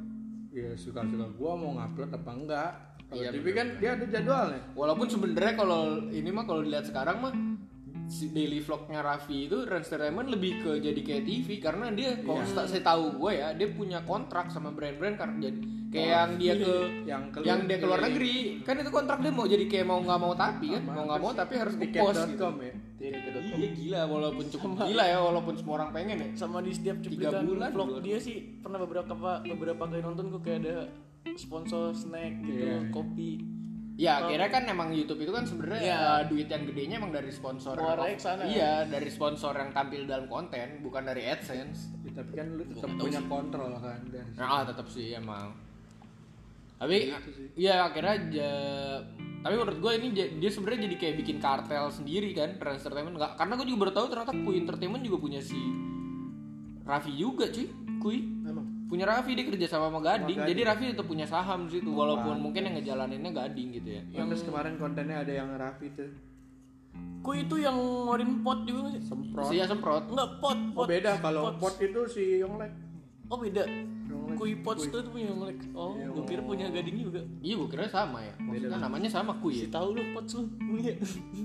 [SPEAKER 3] ya suka-suka gua mau ngupload apa enggak kalau
[SPEAKER 2] Iya,
[SPEAKER 3] TV
[SPEAKER 2] bener.
[SPEAKER 3] kan dia ada jadwalnya
[SPEAKER 2] Walaupun sebenarnya kalau ini mah kalau dilihat sekarang mah si daily vlognya Raffi itu Rans Entertainment lebih ke jadi kayak TV karena dia kalau seta- saya tahu gue ya dia punya kontrak sama brand-brand karena jadi kayak yang dia ke
[SPEAKER 3] yang keluar-
[SPEAKER 2] yang dia keluar negeri kan itu kontrak dia mau jadi kayak mau nggak mau tapi kan mau nggak mau tapi harus ngepost gitu.
[SPEAKER 3] tiket.com ya tiket.com
[SPEAKER 2] Iya gila walaupun cukup gila ya walaupun semua orang pengen ya.
[SPEAKER 1] sama di setiap
[SPEAKER 2] Tiga
[SPEAKER 1] cuplikan
[SPEAKER 2] bulan,
[SPEAKER 1] vlog
[SPEAKER 2] bulan.
[SPEAKER 1] dia sih pernah beberapa beberapa kali nonton gue kayak ada sponsor snack gitu
[SPEAKER 2] Iya,
[SPEAKER 1] kopi
[SPEAKER 2] Ya akhirnya kan emang YouTube itu kan sebenarnya uh, duit yang gedenya emang dari sponsor.
[SPEAKER 1] Muaranya ke sana.
[SPEAKER 2] Iya dari sponsor yang tampil dalam konten bukan dari AdSense.
[SPEAKER 3] Ya, tapi kan lu tetap punya kontrol kan dan
[SPEAKER 2] Nah ah, tetap sih emang. Tapi iya akhirnya aja. Tapi menurut gue ini ja- dia sebenarnya jadi kayak bikin kartel sendiri kan Trans Entertainment nggak? Karena gue juga baru tahu ternyata Kui Entertainment juga punya si Raffi juga cuy. Kui
[SPEAKER 3] emang
[SPEAKER 2] punya Raffi dia kerja sama sama Gading. Jadi Raffi tetap punya saham di situ walaupun mungkin yang ngejalaninnya Gading gitu ya.
[SPEAKER 3] terus kemarin kontennya ada yang Raffi tuh
[SPEAKER 1] kok itu yang ngeluarin pot juga nggak sih
[SPEAKER 3] semprot
[SPEAKER 2] Sia semprot.
[SPEAKER 1] nggak pot
[SPEAKER 3] Oh
[SPEAKER 1] pot
[SPEAKER 3] beda kalau pot itu si Yonglek.
[SPEAKER 1] oh beda
[SPEAKER 3] Yonglek.
[SPEAKER 1] kui pots tuh tuh punya Molek. Oh, gue kira punya Gading juga.
[SPEAKER 2] Iya gue kira sama ya. Maksudnya namanya
[SPEAKER 1] Si
[SPEAKER 2] sama kuy ya.
[SPEAKER 1] tahu lu pots lu punya.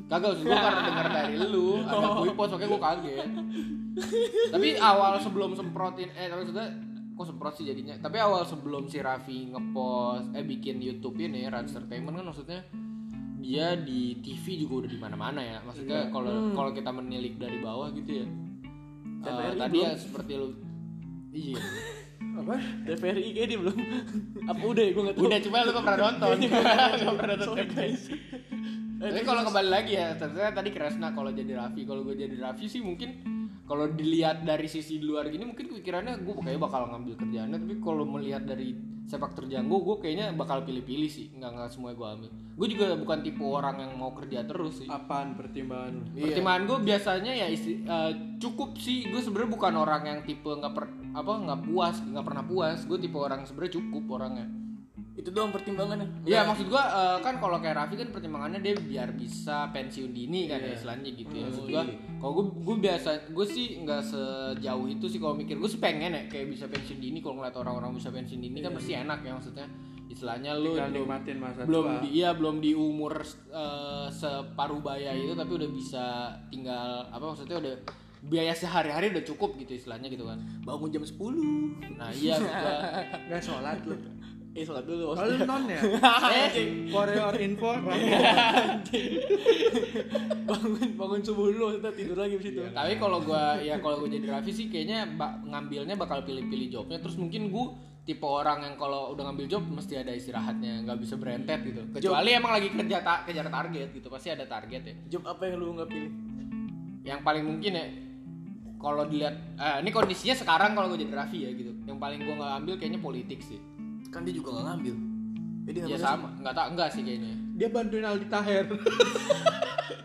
[SPEAKER 2] Kagak maksud gue karena denger dari lu ada kuy pos makanya gue kaget. tapi awal sebelum semprotin eh tapi maksudnya kok semprot sih jadinya. Tapi awal sebelum si Raffi ngepost eh bikin YouTube ini Rans Entertainment kan maksudnya dia di TV juga udah di mana-mana ya. Maksudnya kalau kalau kita menilik dari bawah gitu ya. Eh,
[SPEAKER 1] TVRI
[SPEAKER 2] tadi ya seperti lu Iya.
[SPEAKER 3] apa
[SPEAKER 1] TVRI kayak dia belum. Apa udah ya gue enggak tahu.
[SPEAKER 2] Udah coba lu nggak pernah nonton. Iya, Nggak pernah nonton.
[SPEAKER 1] Sorry guys.
[SPEAKER 2] Tapi kalau kembali lagi ya, ternyata tadi Kresna kalau jadi Raffi, kalau gue jadi Raffi sih mungkin kalau dilihat dari sisi di luar gini mungkin pikirannya gue kayaknya bakal ngambil kerjaannya tapi kalau melihat dari sepak terjang gue gue kayaknya bakal pilih-pilih sih nggak nggak semua gue ambil gue juga bukan tipe orang yang mau kerja terus sih
[SPEAKER 3] apaan pertimbangan lu?
[SPEAKER 2] pertimbangan gue biasanya ya istri- eh, cukup sih gue sebenarnya bukan orang yang tipe nggak per apa nggak puas nggak pernah puas gue tipe orang yang sebenarnya cukup orangnya
[SPEAKER 1] Itu doang pertimbangannya.
[SPEAKER 2] Iya maksud gua eh, kan kalau kayak Raffi kan pertimbangannya dia biar bisa pensiun dini kan
[SPEAKER 1] Iya.
[SPEAKER 2] ya istilahnya gitu
[SPEAKER 1] Hmm.
[SPEAKER 2] ya. Maksud gua kalau gua, gua biasa gua sih nggak sejauh itu sih kalau mikir gua sih pengen ya kayak bisa pensiun dini kalau ngeliat orang-orang bisa pensiun dini
[SPEAKER 1] Iya.
[SPEAKER 2] kan pasti enak ya maksudnya istilahnya lu
[SPEAKER 3] Tinggal
[SPEAKER 2] belum
[SPEAKER 3] nikmatin masa
[SPEAKER 2] belum
[SPEAKER 3] tua.
[SPEAKER 2] di, iya belum di umur eh, separuh baya itu tapi udah bisa tinggal apa maksudnya udah biaya sehari-hari udah cukup gitu istilahnya gitu kan.
[SPEAKER 1] Bangun jam 10.
[SPEAKER 2] Nah, iya maksud gua.
[SPEAKER 3] nggak sholat lu
[SPEAKER 1] Eh sholat dulu
[SPEAKER 3] oh, lu
[SPEAKER 1] maksudnya.
[SPEAKER 3] non ya
[SPEAKER 2] Eh,
[SPEAKER 3] for your info
[SPEAKER 1] bangun bangun subuh dulu maksudnya tidur lagi di situ.
[SPEAKER 2] Tapi kalau gua ya kalau gua jadi Raffi sih kayaknya ba- ngambilnya bakal pilih-pilih jobnya terus mungkin gua tipe orang yang kalau udah ngambil job mesti ada istirahatnya, nggak bisa berentet gitu. Kecuali emang lagi kerja ta- kejar target gitu, pasti ada target ya.
[SPEAKER 1] Job apa yang lu nggak pilih?
[SPEAKER 2] Yang paling mungkin ya kalau dilihat eh, ini kondisinya sekarang kalau gua jadi Raffi ya gitu. Yang paling gua nggak ambil kayaknya politik sih.
[SPEAKER 1] Kan dia juga nggak ngambil. Jadi
[SPEAKER 2] Ya sama, nggak tak enggak sih kayaknya.
[SPEAKER 3] dia bantuin Aldi Taher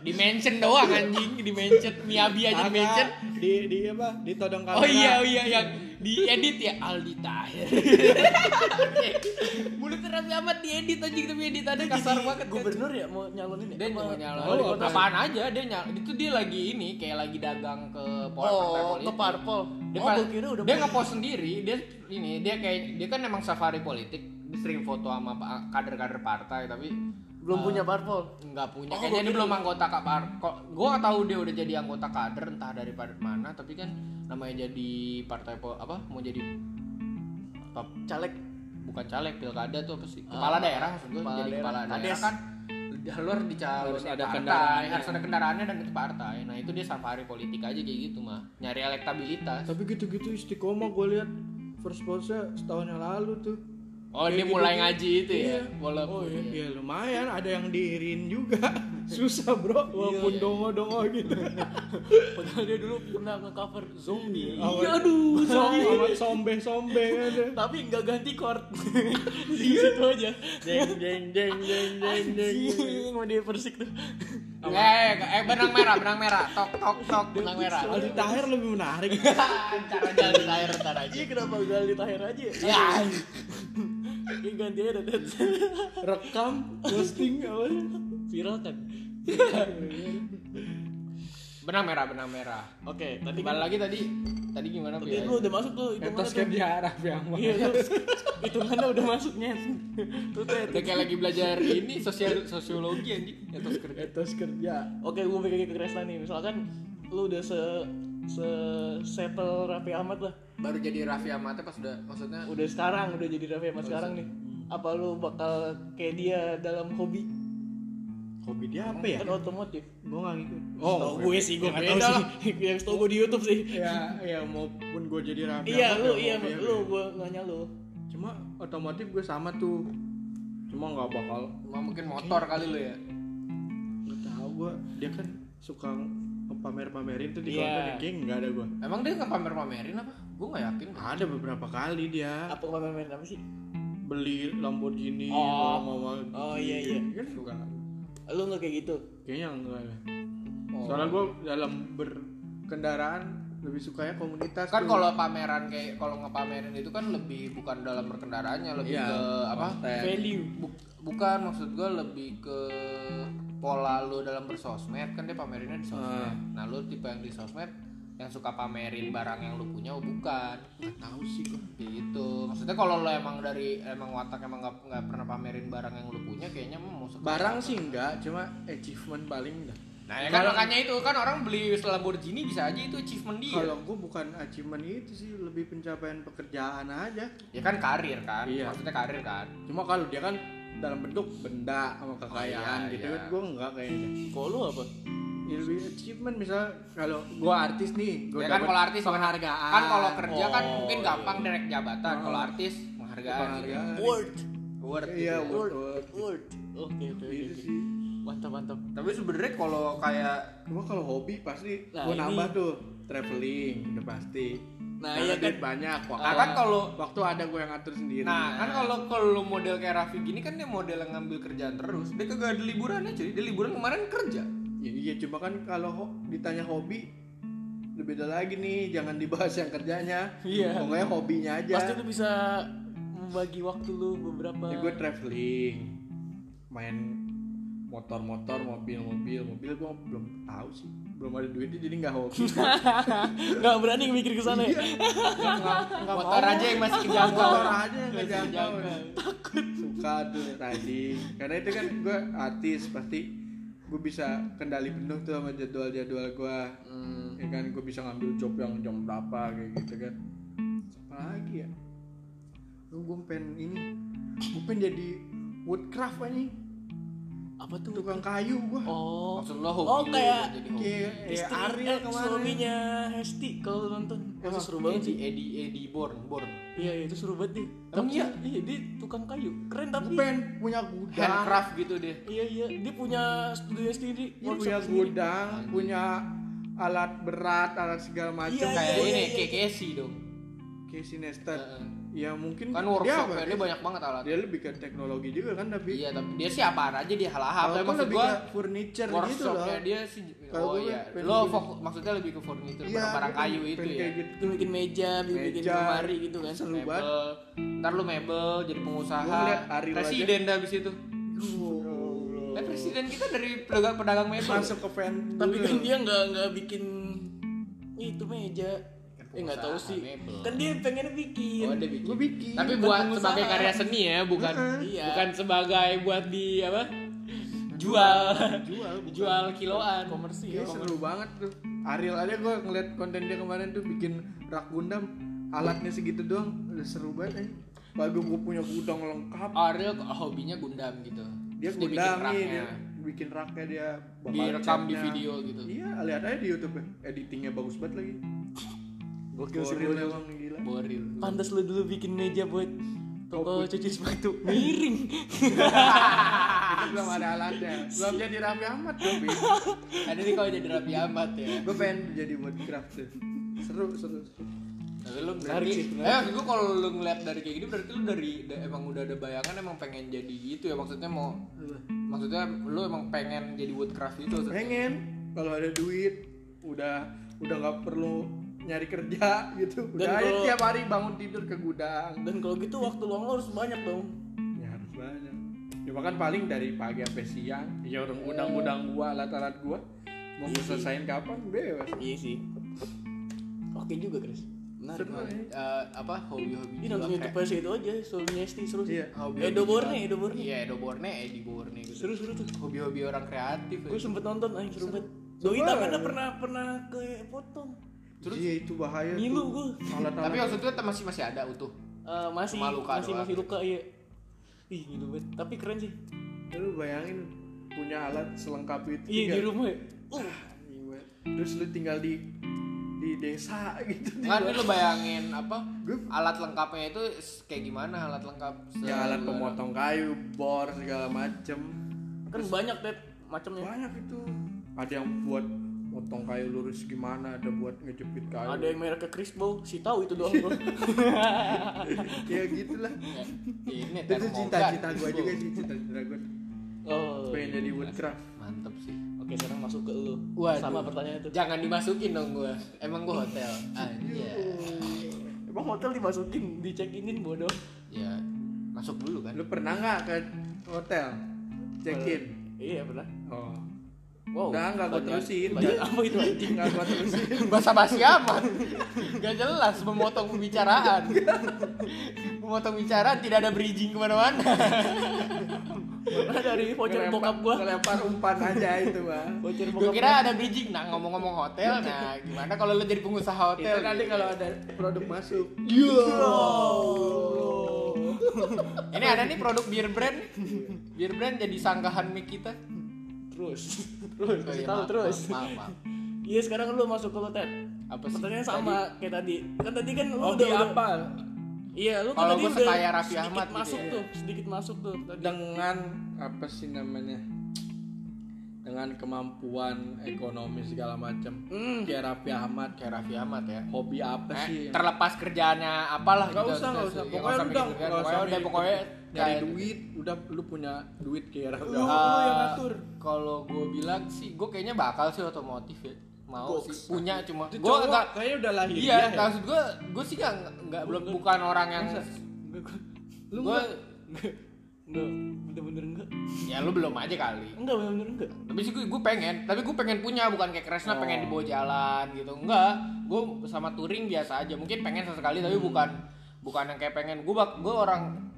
[SPEAKER 2] Di mention doang anjing, di mention Miyabi aja di mention.
[SPEAKER 3] Kagak, di di apa di todong kamera
[SPEAKER 2] Oh iya oh iya yang diedit ya Aldi Tahir. Mulut rapi amat diedit anjing tapi edit ada kasar banget. kan.
[SPEAKER 1] Gubernur ya mau nyalonin ya?
[SPEAKER 2] Dia
[SPEAKER 1] Apa-
[SPEAKER 2] mau
[SPEAKER 1] wali
[SPEAKER 2] nyala
[SPEAKER 1] kota?
[SPEAKER 2] apaan aja dia nyala itu dia lagi ini kayak lagi dagang ke pol partai
[SPEAKER 1] Oh,
[SPEAKER 2] politik.
[SPEAKER 1] ke parpol.
[SPEAKER 2] Dia,
[SPEAKER 1] oh,
[SPEAKER 2] pa-
[SPEAKER 1] gua kira udah
[SPEAKER 2] dia ngepost sendiri dia ini dia kayak dia kan emang safari politik dia sering foto sama pa- kader-kader partai tapi
[SPEAKER 1] belum punya parpol. Oh,
[SPEAKER 2] nggak punya kayaknya dia belum anggota kabar kok gue nggak tahu dia udah jadi anggota kader entah dari pada mana tapi kan namanya jadi partai po- apa mau jadi apa-
[SPEAKER 1] Caleg
[SPEAKER 2] bukan caleg pilkada tuh apa sih kepala daerah maksud gue
[SPEAKER 1] kepala
[SPEAKER 2] jadi
[SPEAKER 1] daerah.
[SPEAKER 2] Ah, kepala daerah
[SPEAKER 1] Kades.
[SPEAKER 2] kan lu harus dicalon
[SPEAKER 3] Harus ada
[SPEAKER 2] partai,
[SPEAKER 3] kendaraannya.
[SPEAKER 2] harus ada kendaraannya dan itu partai nah itu dia safari politik aja kayak gitu mah nyari elektabilitas
[SPEAKER 3] tapi gitu-gitu istiqomah gue lihat first pose setahun yang lalu tuh
[SPEAKER 2] oh dia mulai ngaji itu ya
[SPEAKER 3] oh
[SPEAKER 2] walaupun
[SPEAKER 3] iya, iya lumayan ada yang diirin juga susah bro walaupun dongo-dongo gitu
[SPEAKER 1] padahal dia dulu pernah nge-cover zombie.
[SPEAKER 3] Awal-
[SPEAKER 1] Iya, aduh, zombie.
[SPEAKER 3] Sama sombe-sombe gitu. ada
[SPEAKER 1] Tapi nggak ganti chord. Di situ aja.
[SPEAKER 3] jeng jeng jeng jeng jeng jeng
[SPEAKER 1] Anjing, mau dia persik tuh.
[SPEAKER 2] eh eh, benang merah benang merah tok tok tok benang merah
[SPEAKER 3] Aldi Tahir lebih menarik
[SPEAKER 2] cara jalan di air ntar aja
[SPEAKER 1] Iya, kenapa gak di tahir aja? ya?
[SPEAKER 2] ya
[SPEAKER 1] Iya, ganti aja Dad.
[SPEAKER 3] rekam posting apa
[SPEAKER 1] Viral kan.
[SPEAKER 2] benang merah benang merah
[SPEAKER 1] Oke, tadi kan
[SPEAKER 2] kembali lagi tadi tadi gimana
[SPEAKER 1] tadi
[SPEAKER 2] Pi?
[SPEAKER 1] lu udah masuk tuh hitungannya
[SPEAKER 3] etos
[SPEAKER 1] tuh.
[SPEAKER 3] kerja Arab ya
[SPEAKER 1] Iya, lu hitungannya udah masuknya. Tuh Ted.
[SPEAKER 2] udah kayak lagi belajar ini sosial sosiologi anjing etos kerja
[SPEAKER 3] etos kerja
[SPEAKER 1] Oke, gue balik lagi ke Kresna nih. Misalkan lu udah se se settle Raffi Ahmad lah.
[SPEAKER 2] baru jadi Raffi Ahmad pas udah maksudnya
[SPEAKER 1] Udah sekarang, udah jadi Raffi Ahmad sekarang nih. Apa lu bakal kayak dia dalam hobi?
[SPEAKER 3] hobi dia apa ya
[SPEAKER 1] Kan otomotif.
[SPEAKER 3] gue nggak ngikut oh
[SPEAKER 1] Tau gue sih, gue nggak tahu
[SPEAKER 2] Beda
[SPEAKER 1] sih. Yang tau gue di YouTube sih.
[SPEAKER 3] ya ya maupun gue jadi Raffi
[SPEAKER 1] Iya,
[SPEAKER 3] Ahmad,
[SPEAKER 1] lu
[SPEAKER 3] ya
[SPEAKER 1] iya
[SPEAKER 3] mau- ya,
[SPEAKER 1] lu gue nanya lu.
[SPEAKER 3] cuma otomotif gue sama tuh cuma nggak bakal
[SPEAKER 2] mau mungkin motor kali lu ya
[SPEAKER 3] nggak tahu gue dia kan suka pamer-pamerin tuh di
[SPEAKER 1] Iya.
[SPEAKER 3] konten yang kayak nggak ada gue
[SPEAKER 2] emang dia nggak pamer pamerin apa gue nggak yakin
[SPEAKER 3] ada beberapa kali dia
[SPEAKER 1] Apa pamer apa sih?
[SPEAKER 3] beli Lamborghini
[SPEAKER 2] Oh.
[SPEAKER 3] bawa-bawa
[SPEAKER 1] Oh, iya, iya.
[SPEAKER 3] kan suka
[SPEAKER 1] Lu nggak kayak gitu.
[SPEAKER 3] kayaknya enggak lah soalnya gue dalam berkendaraan lebih sukanya komunitas
[SPEAKER 2] kan
[SPEAKER 3] tuh.
[SPEAKER 2] kalau pameran kayak kalau ngepamerin itu kan lebih bukan dalam berkendaraannya lebih
[SPEAKER 3] Iya,
[SPEAKER 2] ke apa
[SPEAKER 1] Value.
[SPEAKER 2] Buk- bukan maksud gue lebih ke
[SPEAKER 3] Ah.
[SPEAKER 2] pola lu dalam bersosmed kan dia pamerinnya di sosmed nah lu tipe yang di sosmed yang suka pamerin barang yang lu punya oh bukan
[SPEAKER 3] nggak tahu sih gua.
[SPEAKER 2] gitu maksudnya kalau lo emang dari emang watak emang nggak nggak pernah pamerin barang yang lu punya kayaknya hmm, emang mau suka
[SPEAKER 3] barang sih enggak cuma achievement paling enggak
[SPEAKER 2] nah ya kan makanya itu kan orang beli Lamborghini bisa aja itu achievement dia
[SPEAKER 3] kalau gue bukan achievement itu sih lebih pencapaian pekerjaan aja
[SPEAKER 2] ya kan karir kan
[SPEAKER 3] Iya.
[SPEAKER 2] maksudnya karir kan
[SPEAKER 3] cuma kalau dia kan dalam bentuk benda sama kekayaan
[SPEAKER 2] Oh, iya,
[SPEAKER 3] gitu
[SPEAKER 2] iya.
[SPEAKER 3] kan gue enggak kayaknya
[SPEAKER 1] Kalau lu apa?
[SPEAKER 3] ya lebih achievement misal kalau gue artis nih gue
[SPEAKER 2] ya kan kalau artis
[SPEAKER 3] penghargaan
[SPEAKER 2] kan kalau kerja kan
[SPEAKER 1] Oh,
[SPEAKER 2] mungkin gampang direct jabatan
[SPEAKER 3] Oh.
[SPEAKER 2] kalau artis penghargaan gitu.
[SPEAKER 3] penghargaan
[SPEAKER 1] Word.
[SPEAKER 2] Award gitu
[SPEAKER 3] iya
[SPEAKER 2] ya.
[SPEAKER 3] word
[SPEAKER 1] Word. Oke, oke, oke,
[SPEAKER 3] gitu
[SPEAKER 1] oke.
[SPEAKER 3] sih
[SPEAKER 1] Mantap, mantap.
[SPEAKER 2] tapi sebenarnya kalau kayak
[SPEAKER 3] cuma kalau hobi pasti
[SPEAKER 1] Nah,
[SPEAKER 3] gue
[SPEAKER 1] ini-
[SPEAKER 3] nambah tuh traveling udah pasti
[SPEAKER 1] Nah,
[SPEAKER 3] Karena
[SPEAKER 1] iya kan.
[SPEAKER 3] duit banyak waktu,
[SPEAKER 2] nah kan kalau
[SPEAKER 3] waktu ada gue yang ngatur sendiri
[SPEAKER 2] nah kan kalau kalau lu model kayak Raffi gini kan dia model yang ngambil kerjaan terus dia kagak ada liburannya cuy dia liburan kemarin kerja
[SPEAKER 3] Ya, iya cuma kan kalau ho- ditanya hobi udah beda lagi nih jangan dibahas yang kerjanya
[SPEAKER 1] Iya.
[SPEAKER 3] pokoknya hobinya aja
[SPEAKER 2] Ya.
[SPEAKER 1] Pasti lu bisa membagi waktu lu beberapa
[SPEAKER 3] Ya, gue traveling main motor-motor mobil-mobil mobil gue belum tahu sih belum ada duitnya jadi nggak hobi
[SPEAKER 1] nggak berani mikir ke sana ya.
[SPEAKER 2] Iya. motor aja yang masih kejangkau
[SPEAKER 3] motor aja yang nggak jangkau takut suka tuh tadi karena itu kan gue artis pasti gue bisa kendali penuh tuh sama jadwal-jadwal gue
[SPEAKER 1] Hmm.
[SPEAKER 3] ya kan gue bisa ngambil job yang jam berapa kayak gitu kan apa lagi ya gue pengen ini gue pengen jadi woodcraft aja
[SPEAKER 1] Apa tuh?
[SPEAKER 3] tukang kayu gue
[SPEAKER 1] Oh.
[SPEAKER 2] maksud lo hobi
[SPEAKER 1] Oh,
[SPEAKER 2] lu
[SPEAKER 1] kayak-
[SPEAKER 2] jadi Ya, hobi
[SPEAKER 3] Kayak
[SPEAKER 1] Istri,
[SPEAKER 3] Ariel
[SPEAKER 1] eh, suaminya Hesti kalau lu nonton. Itu seru banget sih.
[SPEAKER 2] Eddie Eddie Eddie Born Born
[SPEAKER 1] Iya, iya, itu seru banget nih.
[SPEAKER 2] Iya, Emang
[SPEAKER 1] Tapi
[SPEAKER 2] iya?
[SPEAKER 1] iya, dia tukang kayu. Keren
[SPEAKER 3] Gue
[SPEAKER 1] tapi.
[SPEAKER 3] pengen punya gudang
[SPEAKER 2] handcraft gitu deh
[SPEAKER 1] Iya, iya, dia punya studio sendiri,
[SPEAKER 2] Iya,
[SPEAKER 3] Dia punya
[SPEAKER 1] workshop sendiri.
[SPEAKER 3] gudang punya alat berat alat segala macam
[SPEAKER 1] Iya,
[SPEAKER 2] kayak
[SPEAKER 1] iya,
[SPEAKER 2] ini
[SPEAKER 1] iya, iya.
[SPEAKER 2] kayak Casey dong
[SPEAKER 3] Casey Neistat
[SPEAKER 2] Heeh.
[SPEAKER 3] ya mungkin
[SPEAKER 2] kan
[SPEAKER 3] dia,
[SPEAKER 2] workshop
[SPEAKER 3] apa?
[SPEAKER 2] dia banyak banget alat
[SPEAKER 3] dia lebih ke teknologi juga kan tapi
[SPEAKER 2] iya tapi dia sih apaan aja dia halahap
[SPEAKER 3] kalau
[SPEAKER 2] tapi
[SPEAKER 3] gue
[SPEAKER 2] maksud
[SPEAKER 3] lebih
[SPEAKER 2] gua
[SPEAKER 3] ke furniture gitu loh
[SPEAKER 2] workshopnya dia sih
[SPEAKER 3] Kalau
[SPEAKER 2] oh
[SPEAKER 3] gua
[SPEAKER 2] iya
[SPEAKER 3] pengen
[SPEAKER 2] lo
[SPEAKER 3] bikin-
[SPEAKER 2] fokus maksudnya lebih ke furniture
[SPEAKER 3] Iya,
[SPEAKER 2] barang
[SPEAKER 3] gua
[SPEAKER 2] kayu
[SPEAKER 3] pengen
[SPEAKER 2] itu ya
[SPEAKER 3] kayak gitu
[SPEAKER 1] Dia bikin meja, dia bikin
[SPEAKER 3] Meja.
[SPEAKER 1] lemari gitu kan.
[SPEAKER 3] seru banget
[SPEAKER 2] mebel ntar lu mebel jadi
[SPEAKER 3] Gua
[SPEAKER 2] pengusaha
[SPEAKER 3] ngeliat Ariel
[SPEAKER 2] presiden dah abis itu
[SPEAKER 3] Astagfirullah.
[SPEAKER 2] eh presiden kita dari pedagang pedagang mebel
[SPEAKER 3] masuk ke fan
[SPEAKER 1] Tapi kan dia nggak nggak bikin itu meja. Eh nggak tahu
[SPEAKER 2] pengusaha
[SPEAKER 1] sih.
[SPEAKER 2] mebel.
[SPEAKER 1] Kan dia pengen bikin.
[SPEAKER 2] Oh, dia bikin.
[SPEAKER 3] Gua bikin.
[SPEAKER 2] tapi
[SPEAKER 1] Bukan
[SPEAKER 2] buat
[SPEAKER 1] pengusaha.
[SPEAKER 2] sebagai karya seni ya bukan
[SPEAKER 1] Iya.
[SPEAKER 2] bukan sebagai buat di apa jual
[SPEAKER 3] jual bukan.
[SPEAKER 2] jual kiloan
[SPEAKER 1] komersial.
[SPEAKER 3] Iya, seru banget tuh Ariel aja gue ngeliat konten dia kemarin tuh bikin rak gundam alatnya segitu doang udah seru banget aja bagus gue punya gudang lengkap
[SPEAKER 2] Oh, Ariel hobinya gundam gitu
[SPEAKER 3] dia
[SPEAKER 2] Terus
[SPEAKER 3] gundam nih
[SPEAKER 2] raknya.
[SPEAKER 1] iya,
[SPEAKER 3] dia bikin raknya dia bakal
[SPEAKER 2] direkam di
[SPEAKER 3] catnya.
[SPEAKER 2] video gitu
[SPEAKER 3] iya lihat aja di YouTube ya editingnya bagus banget lagi
[SPEAKER 1] Gokil sih,
[SPEAKER 3] Boril
[SPEAKER 1] gokil.
[SPEAKER 3] emang gila
[SPEAKER 2] boril
[SPEAKER 1] Pantas lu dulu bikin meja buat toko cuci sepatu miring.
[SPEAKER 3] Itu belum ada alatnya belum jadi Raffi Ahmad gue
[SPEAKER 2] ada nih kalau jadi Raffi Ahmad ya
[SPEAKER 3] gue pengen jadi woodcraft tuh seru seru, seru.
[SPEAKER 2] tapi lu
[SPEAKER 1] Menarik sih,
[SPEAKER 2] berarti eh maksud gua kalau lu ngeliat dari kayak gini berarti lu dari da- emang udah ada bayangan emang pengen jadi gitu ya maksudnya mau maksudnya lu emang pengen jadi woodcraft gitu? Eh, itu
[SPEAKER 3] pengen kalau ada duit udah udah nggak perlu nyari kerja gitu udah aja
[SPEAKER 1] kalau-
[SPEAKER 3] tiap hari bangun tidur ke gudang
[SPEAKER 1] Dan kalau gitu waktu luang lu harus banyak dong.
[SPEAKER 3] ya harus banyak cuma kan paling dari pagi sampai siang ya orang gudang-gudang gua alat-alat gua mau gua selesain kapan bebas
[SPEAKER 1] Iya sih. Oke juga, Chris. Menarik.
[SPEAKER 3] seru aja.
[SPEAKER 2] Eh, apa hobi-hobi
[SPEAKER 1] Ini nonton
[SPEAKER 2] juga
[SPEAKER 1] YouTube
[SPEAKER 2] kayak-
[SPEAKER 1] aja itu aja, suaminya Esti seru sih. Eh,
[SPEAKER 3] Iya.
[SPEAKER 2] hobi-hobi
[SPEAKER 1] Edo Borne,
[SPEAKER 2] juga.
[SPEAKER 1] Edo Borne.
[SPEAKER 2] iya Edo Borne Edo Borne gitu
[SPEAKER 1] Seru seru tuh.
[SPEAKER 2] hobi-hobi orang kreatif ya.
[SPEAKER 1] Gue sempet nonton anjing seru banget.
[SPEAKER 3] Seru
[SPEAKER 1] Doi tangannya
[SPEAKER 3] banget.
[SPEAKER 1] pernah pernah ke potong.
[SPEAKER 3] terus iya itu bahaya
[SPEAKER 1] Ngilu
[SPEAKER 3] tuh.
[SPEAKER 1] gua.
[SPEAKER 3] alat-alat
[SPEAKER 2] tapi maksudnya tem- masih masih ada utuh
[SPEAKER 1] Eh, masih
[SPEAKER 2] Cuma luka
[SPEAKER 1] masih
[SPEAKER 2] doang.
[SPEAKER 1] masih luka iya. Ih, gitu banget. Tapi keren sih.
[SPEAKER 3] lu bayangin punya alat selengkap
[SPEAKER 1] Iya
[SPEAKER 3] itu
[SPEAKER 1] di
[SPEAKER 3] tinggal-
[SPEAKER 1] rumah. ya. Uh,
[SPEAKER 3] Anjing, gua. terus lu tinggal di di desa gitu di
[SPEAKER 2] nggak nih Kan lu bayangin apa
[SPEAKER 3] Gua-
[SPEAKER 2] alat lengkapnya itu s- kayak gimana alat lengkap se-
[SPEAKER 3] ya alat pemotong kayu bor segala macem
[SPEAKER 1] kan banyak deh macamnya.
[SPEAKER 3] banyak itu ada yang buat potong kayu lurus gimana ada buat ngejepit kayu
[SPEAKER 1] Ada yang mereknya Crispo, si tahu itu doang, Bro.
[SPEAKER 3] ya gitulah
[SPEAKER 2] Iya. ini
[SPEAKER 3] itu
[SPEAKER 2] termogan.
[SPEAKER 3] cita-cita gue juga sih cita-cita gue
[SPEAKER 1] oh.
[SPEAKER 3] pengen jadi woodcraft
[SPEAKER 2] mantep sih
[SPEAKER 1] Oke, sekarang masuk ke lu.
[SPEAKER 2] Waduh.
[SPEAKER 1] Sama pertanyaan itu.
[SPEAKER 2] jangan dimasukin dong gua emang gua hotel anjir
[SPEAKER 1] Emang hotel dimasukin, dicekinin bodoh.
[SPEAKER 2] ya masuk dulu kan
[SPEAKER 3] lu pernah nggak ke hotel check in
[SPEAKER 1] Iya, pernah.
[SPEAKER 3] oh
[SPEAKER 1] Wow.
[SPEAKER 3] Udah nggak gue terusin.
[SPEAKER 2] apa itu
[SPEAKER 3] Anjing nggak gue terusin.
[SPEAKER 2] bahasa basi amat nggak jelas memotong pembicaraan memotong pembicaraan tidak ada bridging kemana-mana
[SPEAKER 1] Mana dari voucher
[SPEAKER 3] Ngelempar-
[SPEAKER 1] bokap gua?
[SPEAKER 3] Ngelempar umpan aja itu mah.
[SPEAKER 1] Voucher
[SPEAKER 2] gue
[SPEAKER 1] bokap.
[SPEAKER 2] kira ada bridging nah ngomong-ngomong hotel nah gimana kalau lo jadi pengusaha hotel
[SPEAKER 3] Itu kan
[SPEAKER 2] Iya.
[SPEAKER 3] nanti kalau ada produk masuk.
[SPEAKER 2] Yo. ini ada nih produk beer brand beer brand jadi sanggahan mic kita
[SPEAKER 1] Terus. Terus
[SPEAKER 2] Oh,
[SPEAKER 1] kasih
[SPEAKER 2] iya,
[SPEAKER 1] tahu
[SPEAKER 2] maaf,
[SPEAKER 1] terus.
[SPEAKER 2] maaf, maaf, maaf.
[SPEAKER 1] Iya, sekarang lu masuk ke hotel.
[SPEAKER 2] apa sih
[SPEAKER 1] Pertanyaannya sama kayak tadi. Kan tadi kan lu
[SPEAKER 3] Oh,
[SPEAKER 1] udah
[SPEAKER 3] di apa?
[SPEAKER 1] Iya, lu kan
[SPEAKER 2] Kalau
[SPEAKER 1] tadi
[SPEAKER 2] gua
[SPEAKER 1] udah
[SPEAKER 2] sekaya Raffi
[SPEAKER 1] sedikit
[SPEAKER 2] Ahmad gitu
[SPEAKER 1] masuk
[SPEAKER 2] ya.
[SPEAKER 1] tuh, sedikit masuk tuh tadi.
[SPEAKER 3] Dengan apa sih namanya? Dengan kemampuan ekonomi segala macam.
[SPEAKER 1] Hmm.
[SPEAKER 3] Kayak Raffi Ahmad.
[SPEAKER 2] kayak Raffi Ahmad ya
[SPEAKER 3] Hobi apa
[SPEAKER 2] Eh,
[SPEAKER 3] sih? yang-
[SPEAKER 2] terlepas kerjaannya apalah
[SPEAKER 3] Gak
[SPEAKER 2] gitu,
[SPEAKER 3] usah, gak usah.
[SPEAKER 2] Ya,
[SPEAKER 3] Pokoknya
[SPEAKER 2] usah
[SPEAKER 3] lu
[SPEAKER 2] mikir
[SPEAKER 3] dong,
[SPEAKER 2] kerjaan, pokoknya udah pokoknya
[SPEAKER 3] dari
[SPEAKER 2] kayak-
[SPEAKER 3] duit, udah lu punya duit kayak Raffi
[SPEAKER 2] Eh,
[SPEAKER 3] Ahmad.
[SPEAKER 1] yang ngatur.
[SPEAKER 2] Kalau gue bilang sih, gue kayaknya bakal sih otomotif ya. Mau
[SPEAKER 1] Goks.
[SPEAKER 2] sih punya cuma
[SPEAKER 3] Itu
[SPEAKER 2] gue
[SPEAKER 3] cowok
[SPEAKER 2] enggak
[SPEAKER 3] kayaknya udah lahir
[SPEAKER 2] Iya,
[SPEAKER 3] ya.
[SPEAKER 2] maksud gue, gue sih nggak nggak belum bukan orang yang
[SPEAKER 1] Lu
[SPEAKER 2] gue
[SPEAKER 1] enggak bener-bener enggak.
[SPEAKER 2] ya lu belum aja kali.
[SPEAKER 1] Enggak bener-bener enggak.
[SPEAKER 2] Tapi sih gue pengen, tapi gue pengen punya bukan kayak Kresna
[SPEAKER 3] Oh.
[SPEAKER 2] pengen dibawa jalan gitu. Enggak, gue sama touring biasa aja. Mungkin pengen sesekali
[SPEAKER 3] Hmm.
[SPEAKER 2] tapi bukan bukan yang kayak pengen. Gue bak gue orang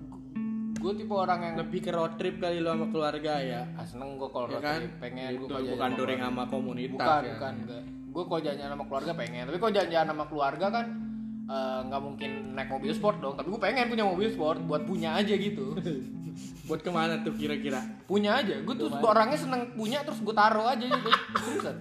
[SPEAKER 2] gue tipe orang yang
[SPEAKER 3] Lebih ke road trip kali lu sama keluarga ya.
[SPEAKER 2] ah, seneng gue kalau
[SPEAKER 3] Ya
[SPEAKER 2] road
[SPEAKER 3] kan?
[SPEAKER 2] trip. pengen
[SPEAKER 3] Gitu,
[SPEAKER 2] gue kalau jajan
[SPEAKER 3] bukan
[SPEAKER 2] sama
[SPEAKER 3] touring
[SPEAKER 2] keluarga.
[SPEAKER 3] sama komunitas.
[SPEAKER 2] bukan
[SPEAKER 3] ya.
[SPEAKER 2] bukan enggak gue kalau janjian sama keluarga pengen tapi kalau janjian sama keluarga kan eh, nggak mungkin naik mobil sport dong tapi gue pengen punya mobil sport buat punya aja gitu
[SPEAKER 3] Buat kemana tuh kira-kira?
[SPEAKER 2] punya aja gue tuh orangnya seneng punya terus gue taruh aja gitu Seriusan.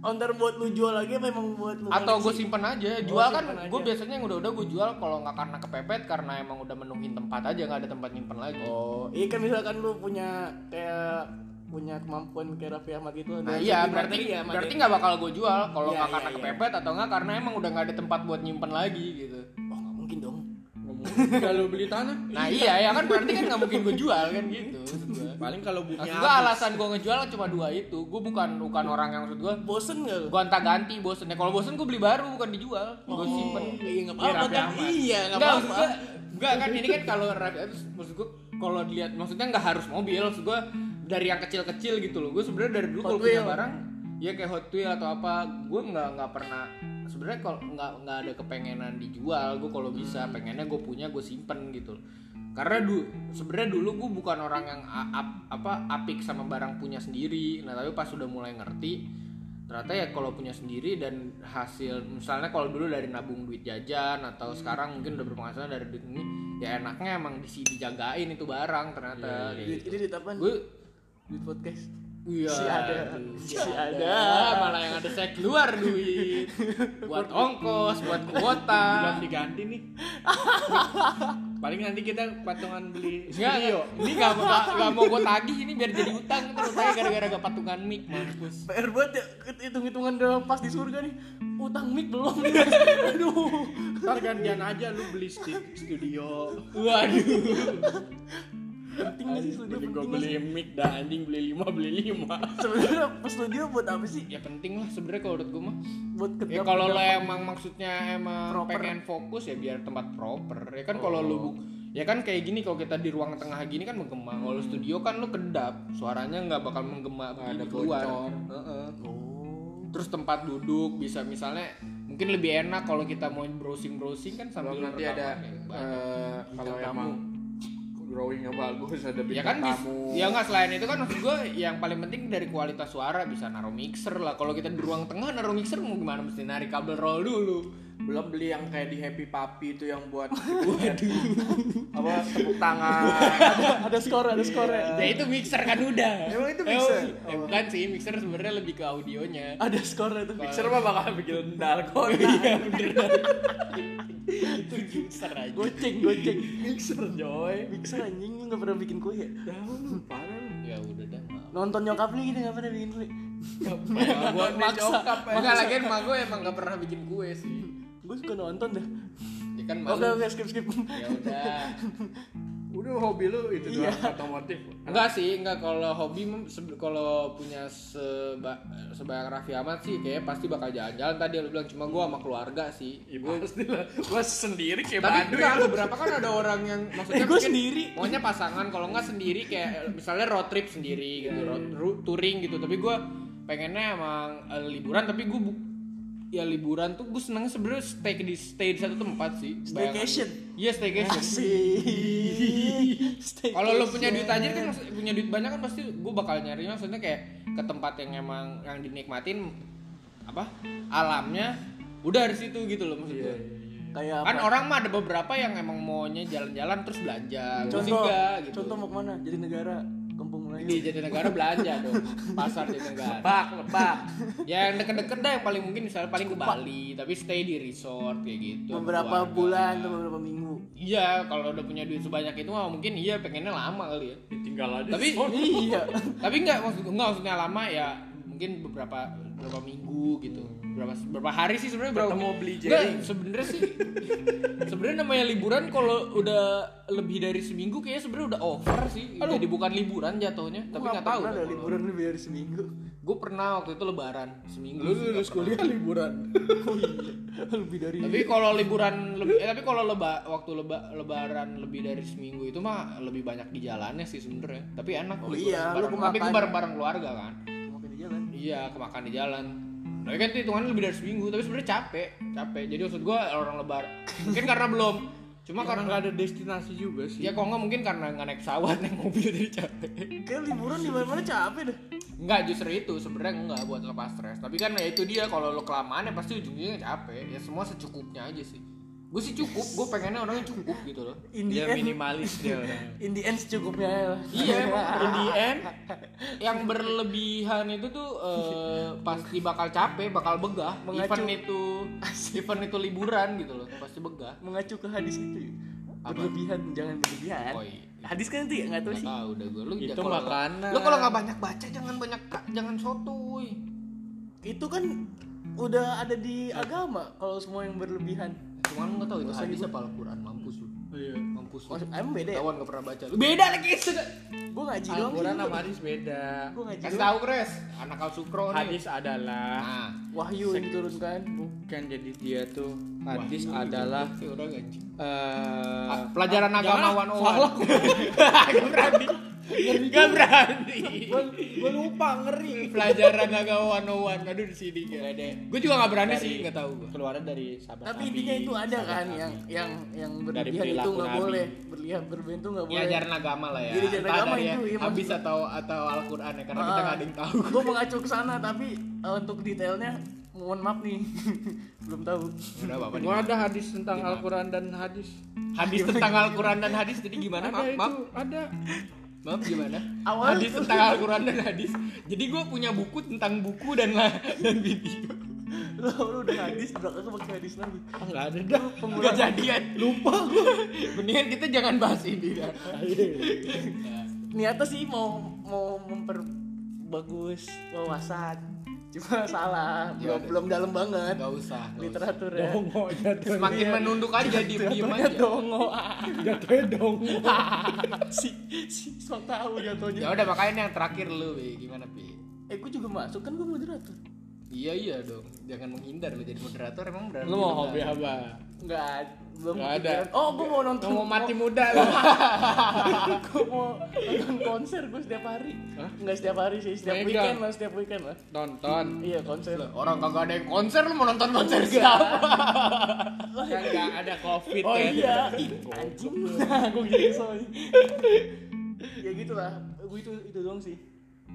[SPEAKER 1] Oh, ntar buat lu jual lagi apa emang buat lu?
[SPEAKER 2] atau gue
[SPEAKER 1] koleksi?
[SPEAKER 2] simpen aja jual kan
[SPEAKER 1] Oh, simpen aja.
[SPEAKER 2] gue biasanya yang udah-udah gue jual kalau nggak karena kepepet karena emang udah menuhin tempat aja nggak ada tempat nyimpen lagi
[SPEAKER 1] Oh, iya kan misalkan lu punya kayak punya kemampuan kayak Raffi Ahmad gitu.
[SPEAKER 2] Nah,
[SPEAKER 1] ada
[SPEAKER 2] iya
[SPEAKER 1] segi
[SPEAKER 2] berarti
[SPEAKER 1] materi ya,
[SPEAKER 2] berarti
[SPEAKER 1] materi.
[SPEAKER 2] nggak bakal gue jual kalau
[SPEAKER 1] Iya,
[SPEAKER 2] nggak
[SPEAKER 1] iya,
[SPEAKER 2] karena
[SPEAKER 1] iya.
[SPEAKER 2] kepepet atau nggak karena emang udah nggak ada tempat buat nyimpen lagi gitu
[SPEAKER 1] Oh, nggak mungkin dong.
[SPEAKER 3] Ngomong, kalau beli tanah
[SPEAKER 2] Nah iya ya kan berarti kan nggak mungkin gue jual kan gitu. maksud gua.
[SPEAKER 3] paling kalau
[SPEAKER 1] Ya,
[SPEAKER 2] Maksud
[SPEAKER 3] bukunya
[SPEAKER 2] gua alasan gue ngejual cuma dua itu. Gue bukan bukan orang yang maksud gue
[SPEAKER 1] Bosen nggak lu?
[SPEAKER 2] gue antar ganti bosen. Ya, kalau bosen gue beli baru bukan dijual. Gue simpen.
[SPEAKER 1] Iya nggak
[SPEAKER 3] Iya,
[SPEAKER 1] apa-apa
[SPEAKER 3] Raffi
[SPEAKER 1] kan?
[SPEAKER 3] Ahmad.
[SPEAKER 1] Iya nggak
[SPEAKER 2] Enggak maksud
[SPEAKER 1] apa-apa.
[SPEAKER 2] gue enggak kan ini kan kalau Raffi Ahmad, maksud gue kalau dilihat maksudnya nggak harus mobil maksud gue dari yang kecil-kecil gitu loh. Gue sebenarnya dari dulu
[SPEAKER 1] Hot
[SPEAKER 2] kalau punya
[SPEAKER 1] Wheel.
[SPEAKER 2] barang ya kayak Hot Wheel atau apa gue nggak nggak pernah sebenarnya kalau nggak nggak ada kepengenan dijual gue kalau bisa pengennya gue punya gue simpen gitu loh karena du sebenarnya dulu gue bukan orang yang a- ap- apa apik sama barang punya sendiri nah tapi pas sudah mulai ngerti ternyata ya kalau punya sendiri dan hasil misalnya kalau dulu dari nabung duit jajan atau sekarang mungkin udah berpenghasilan dari duit ini ya enaknya emang disi dijagain itu barang ternyata gitu.
[SPEAKER 1] Duit itu duit apaan?
[SPEAKER 2] gue
[SPEAKER 1] Duit podcast.
[SPEAKER 2] Iya.
[SPEAKER 1] Si ada. Si ada.
[SPEAKER 2] Malah yang ada saya keluar duit. Buat ongkos, buat kuota.
[SPEAKER 3] belum diganti nih. paling nanti kita patungan beli
[SPEAKER 2] Enggak,
[SPEAKER 3] studio.
[SPEAKER 2] ini gak, gak, gak mau gue tagih ini biar jadi utang terus saya gara-gara gak patungan mic mampus.
[SPEAKER 1] PR buat ya hitung-hitungan udah pas di surga nih. Utang mic belum nih. Aduh.
[SPEAKER 3] Ntar gantian aja lu beli sti- studio.
[SPEAKER 2] Waduh.
[SPEAKER 1] Penting nggak sih studio?
[SPEAKER 3] Beli gua
[SPEAKER 1] Penting nggak sih?
[SPEAKER 3] beli mic dah anjing beli lima beli lima.
[SPEAKER 1] Sebenarnya pas studio buat apa sih?
[SPEAKER 2] Ya penting lah sebenarnya kalau menurut gue mah.
[SPEAKER 1] Buat
[SPEAKER 2] Ya
[SPEAKER 1] kedap-
[SPEAKER 2] kalau lo emang maksudnya emang
[SPEAKER 1] Proper.
[SPEAKER 2] pengen fokus ya biar tempat proper. Ya kan kalau
[SPEAKER 3] Oh.
[SPEAKER 2] lu bu- ya kan kayak gini kalau kita di ruang tengah gini kan menggema.
[SPEAKER 3] Hmm.
[SPEAKER 2] Kalau studio kan lu kedap, suaranya nggak bakal menggema di keluar. Heeh.
[SPEAKER 1] Oh.
[SPEAKER 2] terus tempat duduk bisa misalnya mungkin lebih enak kalau kita mau browsing browsing kan sambil
[SPEAKER 3] Belum nanti
[SPEAKER 2] rekaman
[SPEAKER 3] ada
[SPEAKER 2] ya, banyak.
[SPEAKER 3] eh, kalau
[SPEAKER 2] Bintang
[SPEAKER 3] emang drawingnya bagus ada
[SPEAKER 2] ya
[SPEAKER 3] bintang
[SPEAKER 2] kan bis-
[SPEAKER 3] tamu.
[SPEAKER 2] ya nggak selain itu kan maksud gue yang paling penting dari kualitas suara bisa naruh mixer lah kalau kita di ruang tengah naruh mixer mau gimana mesti narik kabel roll dulu
[SPEAKER 3] belum beli yang kayak di Happy Papi itu yang buat waduh apa tepuk tangan
[SPEAKER 1] Ada skor, ada skornya.
[SPEAKER 2] ya itu mixer kan udah
[SPEAKER 3] Emang itu
[SPEAKER 2] Eh,
[SPEAKER 3] mixer? Oh.
[SPEAKER 2] eh, bukan sih mixer sebenarnya lebih ke audionya
[SPEAKER 1] Ada skornya tuh.
[SPEAKER 3] mixer mah bakal bikin dal
[SPEAKER 2] iya bener itu mixer aja
[SPEAKER 1] Goceng, goceng.
[SPEAKER 3] mixer joy
[SPEAKER 1] Mixer anjing lu nggak pernah bikin kue ya?
[SPEAKER 3] dahulu parah
[SPEAKER 2] ya udah dah maaf
[SPEAKER 1] Nonton nyokap lu gitu nggak pernah bikin kue.
[SPEAKER 2] gue
[SPEAKER 3] Maksa.
[SPEAKER 2] Enggak lagi emak gue emang gak pernah bikin kue sih.
[SPEAKER 1] Gue suka nonton dah.
[SPEAKER 2] Ya kan
[SPEAKER 1] Oke
[SPEAKER 2] malu.
[SPEAKER 1] oke skip skip.
[SPEAKER 2] Ya udah.
[SPEAKER 3] udah Iya. Lu hobi lu itu doang otomotif.
[SPEAKER 2] Enggak sih, enggak kalau hobi mem- sebe- kalau punya seba, sebanyak Raffi Ahmad sih kayaknya pasti bakal jalan-jalan tadi yang lu bilang cuma gua sama keluarga sih.
[SPEAKER 3] Ibu pasti lah. Gua sendiri kayak
[SPEAKER 2] Tapi
[SPEAKER 3] Badu
[SPEAKER 2] enggak
[SPEAKER 3] ya.
[SPEAKER 2] beberapa kan ada orang yang
[SPEAKER 1] Eh,
[SPEAKER 2] maksudnya
[SPEAKER 1] gua
[SPEAKER 2] mungkin
[SPEAKER 1] sendiri.
[SPEAKER 2] Maunya pasangan kalau enggak sendiri kayak misalnya road trip sendiri gitu, road
[SPEAKER 1] Hmm.
[SPEAKER 2] ru- touring gitu. Tapi gua pengennya emang eh, liburan tapi gua bu- ya liburan tuh gue seneng sebenarnya stay di stay di satu tempat sih. bayangan gua.
[SPEAKER 1] Staycation.
[SPEAKER 2] Iya, staycation.
[SPEAKER 1] Asik. Staycation.
[SPEAKER 2] Kalau lo punya duit aja kan maksud- punya duit banyak kan pasti gue bakal nyari maksudnya kayak ke tempat yang emang yang dinikmatin apa alamnya udah dari situ gitu loh maksud gue.
[SPEAKER 1] Iya. kayak
[SPEAKER 2] Kan
[SPEAKER 1] apa?
[SPEAKER 2] orang mah ada beberapa yang emang maunya jalan-jalan terus belanja. Gua sih
[SPEAKER 1] contoh
[SPEAKER 2] enggak, gitu.
[SPEAKER 1] contoh mau kemana jadi negara kampung
[SPEAKER 2] di
[SPEAKER 1] Melayu
[SPEAKER 2] Jatinegara belanja dong. Pasar Jatinegara.
[SPEAKER 3] Lebak, lebak.
[SPEAKER 2] Ya yang deket-deket dah yang paling mungkin misalnya paling ke Bali tapi stay di resort kayak gitu.
[SPEAKER 1] beberapa
[SPEAKER 2] keluarga.
[SPEAKER 1] bulan atau beberapa minggu
[SPEAKER 2] Iya, kalau udah punya duit sebanyak itu mah mungkin iya pengennya lama kali ya.
[SPEAKER 3] Ditinggal aja.
[SPEAKER 2] Tapi-
[SPEAKER 3] Oh,
[SPEAKER 1] iya
[SPEAKER 2] tapi nggak maksud nggak maksudnya lama ya mungkin beberapa beberapa minggu gitu berapa berapa hari sih sebenarnya berapa
[SPEAKER 3] Ketemu
[SPEAKER 2] minggu?
[SPEAKER 3] beli
[SPEAKER 2] Nggak,
[SPEAKER 3] jaring.
[SPEAKER 2] sebenarnya sih sebenarnya namanya liburan kalau udah lebih dari seminggu kayaknya sebenarnya udah over sih jadi bukan liburan jatuhnya tapi nggak tahu
[SPEAKER 1] ada liburan lebih dari seminggu
[SPEAKER 2] gue pernah waktu itu lebaran seminggu
[SPEAKER 3] lu lulus kuliah liburan.
[SPEAKER 1] oh iya lebih dari
[SPEAKER 2] tapi kalau liburan lebih eh, tapi kalau leba waktu leba- lebaran lebih dari seminggu itu mah lebih banyak di jalannya sih sebenarnya tapi enak
[SPEAKER 1] Oh
[SPEAKER 2] liburan
[SPEAKER 1] iya, lu
[SPEAKER 2] bareng- tapi gue
[SPEAKER 1] kemakan.
[SPEAKER 2] bareng bareng keluarga kan
[SPEAKER 1] makin di jalan
[SPEAKER 2] Iya, kemakan di jalan. Tapi kan itu hitungannya lebih dari seminggu, tapi sebenarnya capek, capek. Jadi maksud gua orang lebar. Mungkin karena belum. Cuma
[SPEAKER 3] Karena
[SPEAKER 2] karena
[SPEAKER 3] nggak ada destinasi juga sih.
[SPEAKER 2] ya kok nggak mungkin karena nggak naik pesawat naik mobil jadi capek.
[SPEAKER 1] kayak liburan di mana mana capek deh
[SPEAKER 2] Enggak justru itu sebenarnya enggak buat lepas stres. Tapi kan ya itu dia kalau lo kelamaan ya pasti ujung-ujungnya capek. Ya semua secukupnya aja sih. Gue sih cukup, gue pengennya orangnya cukup gitu loh.
[SPEAKER 1] in the
[SPEAKER 3] Dia
[SPEAKER 1] end
[SPEAKER 3] Ya, minimalis dia orang.
[SPEAKER 1] in the end secukupnya aja lah.
[SPEAKER 2] Iya, emang. in the end yang berlebihan itu tuh eh, pasti bakal capek, bakal begah.
[SPEAKER 1] Mengacu.
[SPEAKER 2] Event itu event itu liburan gitu loh, pasti begah.
[SPEAKER 1] mengacu ke hadis itu ya.
[SPEAKER 2] Apa?
[SPEAKER 1] berlebihan jangan berlebihan
[SPEAKER 2] Oh, iya.
[SPEAKER 1] hadis kan itu ya nggak tahu
[SPEAKER 2] Nggak
[SPEAKER 1] sih
[SPEAKER 2] tahu ah, udah gue lu
[SPEAKER 3] Itu
[SPEAKER 2] kalau nggak-
[SPEAKER 3] makanan.
[SPEAKER 2] Lu kalau nggak banyak baca jangan banyak ka- jangan sotoy.
[SPEAKER 1] itu kan udah ada di agama kalau semua yang berlebihan
[SPEAKER 2] Cuman lu nggak tahu itu hadis apa Al-Qur'an mampus lu.
[SPEAKER 3] Iya.
[SPEAKER 2] Mampus lu.
[SPEAKER 1] Mas- emang beda ya
[SPEAKER 2] Kawan nggak pernah baca. Lu beda lagi sudah.
[SPEAKER 1] gue ngaji doang
[SPEAKER 3] Al-Quran sama hadis beda.
[SPEAKER 1] gue ngaji
[SPEAKER 2] Kasih
[SPEAKER 1] doang
[SPEAKER 2] tahu Kres, anak Al Sukro nih.
[SPEAKER 3] Hadis adalah
[SPEAKER 2] Nah,
[SPEAKER 1] wahyu yang diturunkan
[SPEAKER 3] bukan kan jadi dia tuh hadis adalah
[SPEAKER 2] si orang anjing.
[SPEAKER 3] iya. eh
[SPEAKER 2] Ah, Pelajaran agama
[SPEAKER 3] janganlah,
[SPEAKER 2] 101.
[SPEAKER 3] salah
[SPEAKER 2] Gak berani. Gak berani.
[SPEAKER 3] gue lupa ngeri
[SPEAKER 2] Pelajaran agama 101. Aduh di sini gak ada. Gue juga gak berani sih, gak tahu gue.
[SPEAKER 3] keluarnya dari sahabat
[SPEAKER 1] tapi
[SPEAKER 3] Nabi,
[SPEAKER 1] intinya itu ada
[SPEAKER 3] sahabat
[SPEAKER 1] kan
[SPEAKER 3] Nabi.
[SPEAKER 1] yang yang yang
[SPEAKER 3] Dari
[SPEAKER 1] berlebihan itu
[SPEAKER 3] perilaku
[SPEAKER 1] nggak
[SPEAKER 3] Nabi. Iya,
[SPEAKER 1] boleh berlebihan berlebihan tuh nggak
[SPEAKER 2] Ya
[SPEAKER 1] boleh
[SPEAKER 2] ajaran agama lah ya.
[SPEAKER 1] Jadi ajaran
[SPEAKER 2] Entah
[SPEAKER 1] agama
[SPEAKER 2] dari
[SPEAKER 1] itu, iya,
[SPEAKER 2] Habis
[SPEAKER 1] maksud
[SPEAKER 2] atau atau Al-Quran ya karena kita gak ada yang tahu.
[SPEAKER 1] gue mengacu ke sana tapi eh, untuk detailnya mohon maaf nih belum tahu
[SPEAKER 2] Udah apa
[SPEAKER 3] Gua ada hadis tentang Al-Quran dan hadis
[SPEAKER 2] Hadis tentang Al-Quran dan hadis jadi gimana?
[SPEAKER 3] ada
[SPEAKER 2] Maaf,
[SPEAKER 3] itu
[SPEAKER 2] maaf.
[SPEAKER 3] ada
[SPEAKER 2] Maaf gimana?
[SPEAKER 1] Awal-
[SPEAKER 2] hadis tentang Al-Quran dan hadis. Jadi gue punya buku tentang buku dan la- dan video.
[SPEAKER 1] lo lo udah hadis belakangnya pakai hadis lagi
[SPEAKER 2] Oh,
[SPEAKER 3] ah, nggak ada dah
[SPEAKER 2] Gak jadian. Lupa gue. Mendingan kita jangan bahas ini dah.
[SPEAKER 1] niatnya sih mau mau memperbagus wawasan cuma salah belum
[SPEAKER 2] Ya udah.
[SPEAKER 3] Iya,
[SPEAKER 1] belum dalam banget
[SPEAKER 2] Gak usah. nggak usah.
[SPEAKER 1] literatur ya
[SPEAKER 3] dongo oh, jatuh
[SPEAKER 2] Semakin menunduk aja diem diem
[SPEAKER 1] jatuhnya
[SPEAKER 2] aja.
[SPEAKER 1] dongo
[SPEAKER 3] jatuhnya dongo
[SPEAKER 1] si si sok tahu
[SPEAKER 2] Ya
[SPEAKER 3] Iya.
[SPEAKER 1] jatuhnya
[SPEAKER 2] udah makanya yang terakhir lu Bi. gimana Bi?
[SPEAKER 1] eh gue juga masuk kan gue moderator
[SPEAKER 2] Iya iya dong. Jangan menghindar lu jadi moderator emang berarti.
[SPEAKER 3] lu mau
[SPEAKER 2] nggak-
[SPEAKER 3] hobi apa
[SPEAKER 1] nggak belum
[SPEAKER 3] Nggak ada.
[SPEAKER 1] kepikiran. oh gue mau nonton
[SPEAKER 3] Lu mau mati muda lu
[SPEAKER 1] gue mau nonton konser gue setiap hari nggak setiap hari sih setiap
[SPEAKER 3] Mega.
[SPEAKER 1] weekend lah setiap weekend lah
[SPEAKER 3] nonton
[SPEAKER 1] iya konser
[SPEAKER 2] Lah, Orang kagak ada yang konser lu mau nonton konser siapa?
[SPEAKER 3] kan nggak ada covid
[SPEAKER 1] Oh
[SPEAKER 3] kan?
[SPEAKER 1] iya, anjing. Nah, gue jadi kesel aja. ya gitulah, gue itu itu doang sih.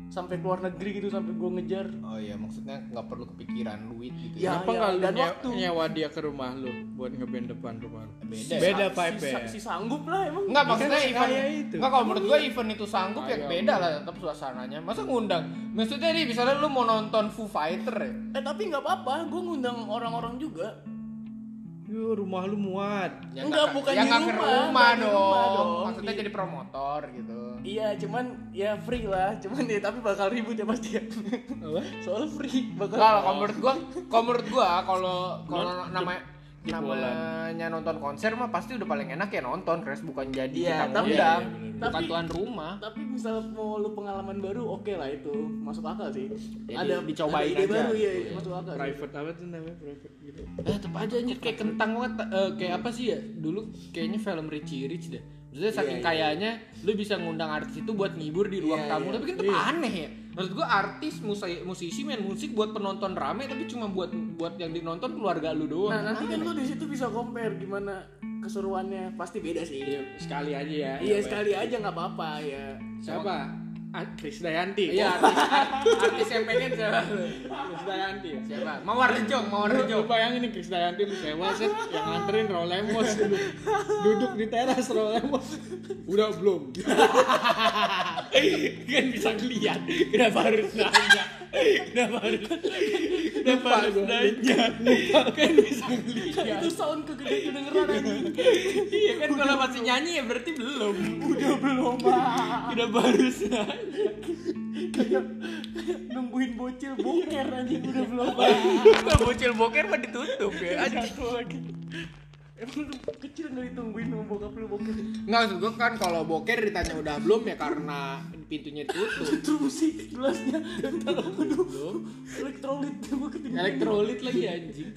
[SPEAKER 1] Sampai keluar negeri gitu, sampai gue ngejar.
[SPEAKER 2] Oh iya maksudnya nggak perlu kepikiran duit gitu.
[SPEAKER 1] Ya,
[SPEAKER 3] Kenapa
[SPEAKER 1] ya,
[SPEAKER 3] nggak lu
[SPEAKER 1] dan
[SPEAKER 3] nyewa,
[SPEAKER 1] waktu.
[SPEAKER 3] nyewa dia ke rumah lu buat ngeband depan rumah lu?
[SPEAKER 2] Beda.
[SPEAKER 1] Si-
[SPEAKER 3] Beda
[SPEAKER 1] si-
[SPEAKER 3] Pipe.
[SPEAKER 1] si- Si sanggup lah emang.
[SPEAKER 2] Enggak maksudnya
[SPEAKER 1] Iya,
[SPEAKER 3] Kan
[SPEAKER 2] event
[SPEAKER 3] kaya itu.
[SPEAKER 2] Enggak kalau menurut gua event itu sanggup ya
[SPEAKER 3] Kaya.
[SPEAKER 2] beda lah tetap suasananya. Masa ngundang? Maksudnya nih misalnya lu mau nonton Foo Fighter ya.
[SPEAKER 1] Eh tapi nggak apa-apa, gue ngundang orang-orang juga.
[SPEAKER 3] Yo, rumah lu muat.
[SPEAKER 2] Ya
[SPEAKER 1] Enggak,
[SPEAKER 2] nggak-
[SPEAKER 1] bukan
[SPEAKER 2] ya
[SPEAKER 1] di
[SPEAKER 2] nggak ke
[SPEAKER 1] rumah,
[SPEAKER 2] rumah,
[SPEAKER 1] nggak di
[SPEAKER 2] dong.
[SPEAKER 1] rumah dong.
[SPEAKER 2] Maksudnya
[SPEAKER 1] Di-
[SPEAKER 2] jadi promotor gitu.
[SPEAKER 1] Iya, cuman ya free lah. Cuman ya tapi bakal ribut ya pasti. ya. Soal free bakal.
[SPEAKER 2] Enggak lah, kalau menurut gua, kalau menurut gua kalau kalau namanya
[SPEAKER 4] namanya nonton konser mah pasti udah paling enak ya nonton Kres bukan jadi kita
[SPEAKER 1] Iya, tapi-
[SPEAKER 4] ngundang
[SPEAKER 2] bukan
[SPEAKER 1] Tapi-
[SPEAKER 2] tuan rumah
[SPEAKER 1] tapi misal mau lu pengalaman baru oke lah itu masuk akal sih
[SPEAKER 2] Jadi
[SPEAKER 1] ada
[SPEAKER 2] Ya,
[SPEAKER 1] ada
[SPEAKER 2] dicobain
[SPEAKER 1] ide
[SPEAKER 2] aja.
[SPEAKER 1] baru ya
[SPEAKER 2] Iya.
[SPEAKER 1] masuk akal sih.
[SPEAKER 3] private apa tuh namanya private gitu
[SPEAKER 2] Eh, tetep aja anjir kayak kentang banget Eh, kayak apa sih ya? Dulu kayaknya film Richie Rich deh. Maksudnya saking
[SPEAKER 1] Iya, iya.
[SPEAKER 2] kayanya lu bisa ngundang artis itu buat ngibur di
[SPEAKER 1] Iya,
[SPEAKER 2] ruang
[SPEAKER 1] iya.
[SPEAKER 2] tamu tapi kan tetep aneh ya. Menurut gua artis musai- musisi main musik buat penonton rame tapi cuma buat buat yang dinonton keluarga lu doang.
[SPEAKER 1] nah nanti kan lu di situ bisa compare gimana keseruannya pasti beda sih iya,
[SPEAKER 3] sekali aja ya
[SPEAKER 1] sekali aja nggak apa-apa ya
[SPEAKER 3] siapa Ah, Kris Dayanti
[SPEAKER 2] Iya, artis, artis yang pengen siapa?
[SPEAKER 3] Kris Dayanti ya
[SPEAKER 2] Siapa? Mawar Rejong, Mawar
[SPEAKER 3] Lu-
[SPEAKER 2] Rejong.
[SPEAKER 3] Lu bayangin nih Kris Dayanti lu sewa set yang nganterin Raul Lemos duduk di teras Raul Lemos udah belum kan bisa lihat kenapa harus nanya kenapa harus kenapa harus nanya kan bisa lihat
[SPEAKER 1] itu sound kegede kedengeran anjing
[SPEAKER 2] Iya kan kalau masih nyanyi ya berarti belum.
[SPEAKER 1] udah belum Pak.
[SPEAKER 2] Udah baru
[SPEAKER 1] Kayak- kayak nungguin bocil boker
[SPEAKER 2] Iya.
[SPEAKER 1] anjing udah belum Pak.
[SPEAKER 2] Nah, bocil boker mah ditutup ya anjing.
[SPEAKER 1] Satu lagi
[SPEAKER 2] Iya.
[SPEAKER 1] emang lu kecil nggak ditungguin sama bokap lu boker
[SPEAKER 2] Nggak, maksud gua kan kalau boker ditanya udah belum ya karena pintunya tutup.
[SPEAKER 1] terus sih gelasnya
[SPEAKER 2] Iya.
[SPEAKER 1] aduh elektrolit gua ketinggalan
[SPEAKER 2] Elektrolit lagi anjing.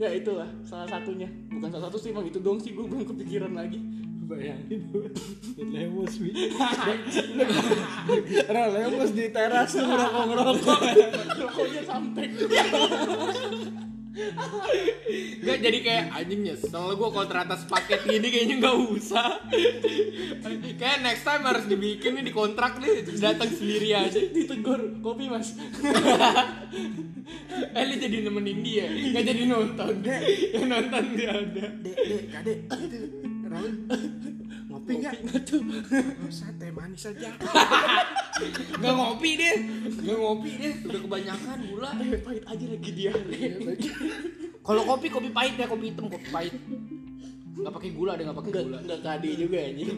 [SPEAKER 1] ya Iya, itulah salah satunya bukan salah satu sih emang itu dong sih gue belum kepikiran lagi
[SPEAKER 3] bayangin Raul Lemos Mi. Raul Lemos di teras tuh ngerokok ngerokok
[SPEAKER 1] rokoknya sampai
[SPEAKER 2] Nggak jadi kayak anjing nyesel gua kalau teratas paket gini kayaknya nggak usah. Kayak next time harus dibikin nih di kontrak nih datang sendiri aja.
[SPEAKER 1] ditegur kopi mas
[SPEAKER 2] Eh lu jadi nemenin dia, nggak jadi nonton. Yang nonton dia ada.
[SPEAKER 3] dek dek kadek Raul ngopi nggak
[SPEAKER 1] tuh
[SPEAKER 3] usah teh manis aja
[SPEAKER 2] Nggak ngopi deh, nggak ngopi deh. Udah kebanyakan gula.
[SPEAKER 1] eh pahit aja lagi dia
[SPEAKER 2] Iya, Kalau kopi kopi pahit ya kopi hitam kopi pahit. Nggak pakai gula deh nggak pakai
[SPEAKER 1] nggak
[SPEAKER 2] gula.
[SPEAKER 1] nggak KD juga anjing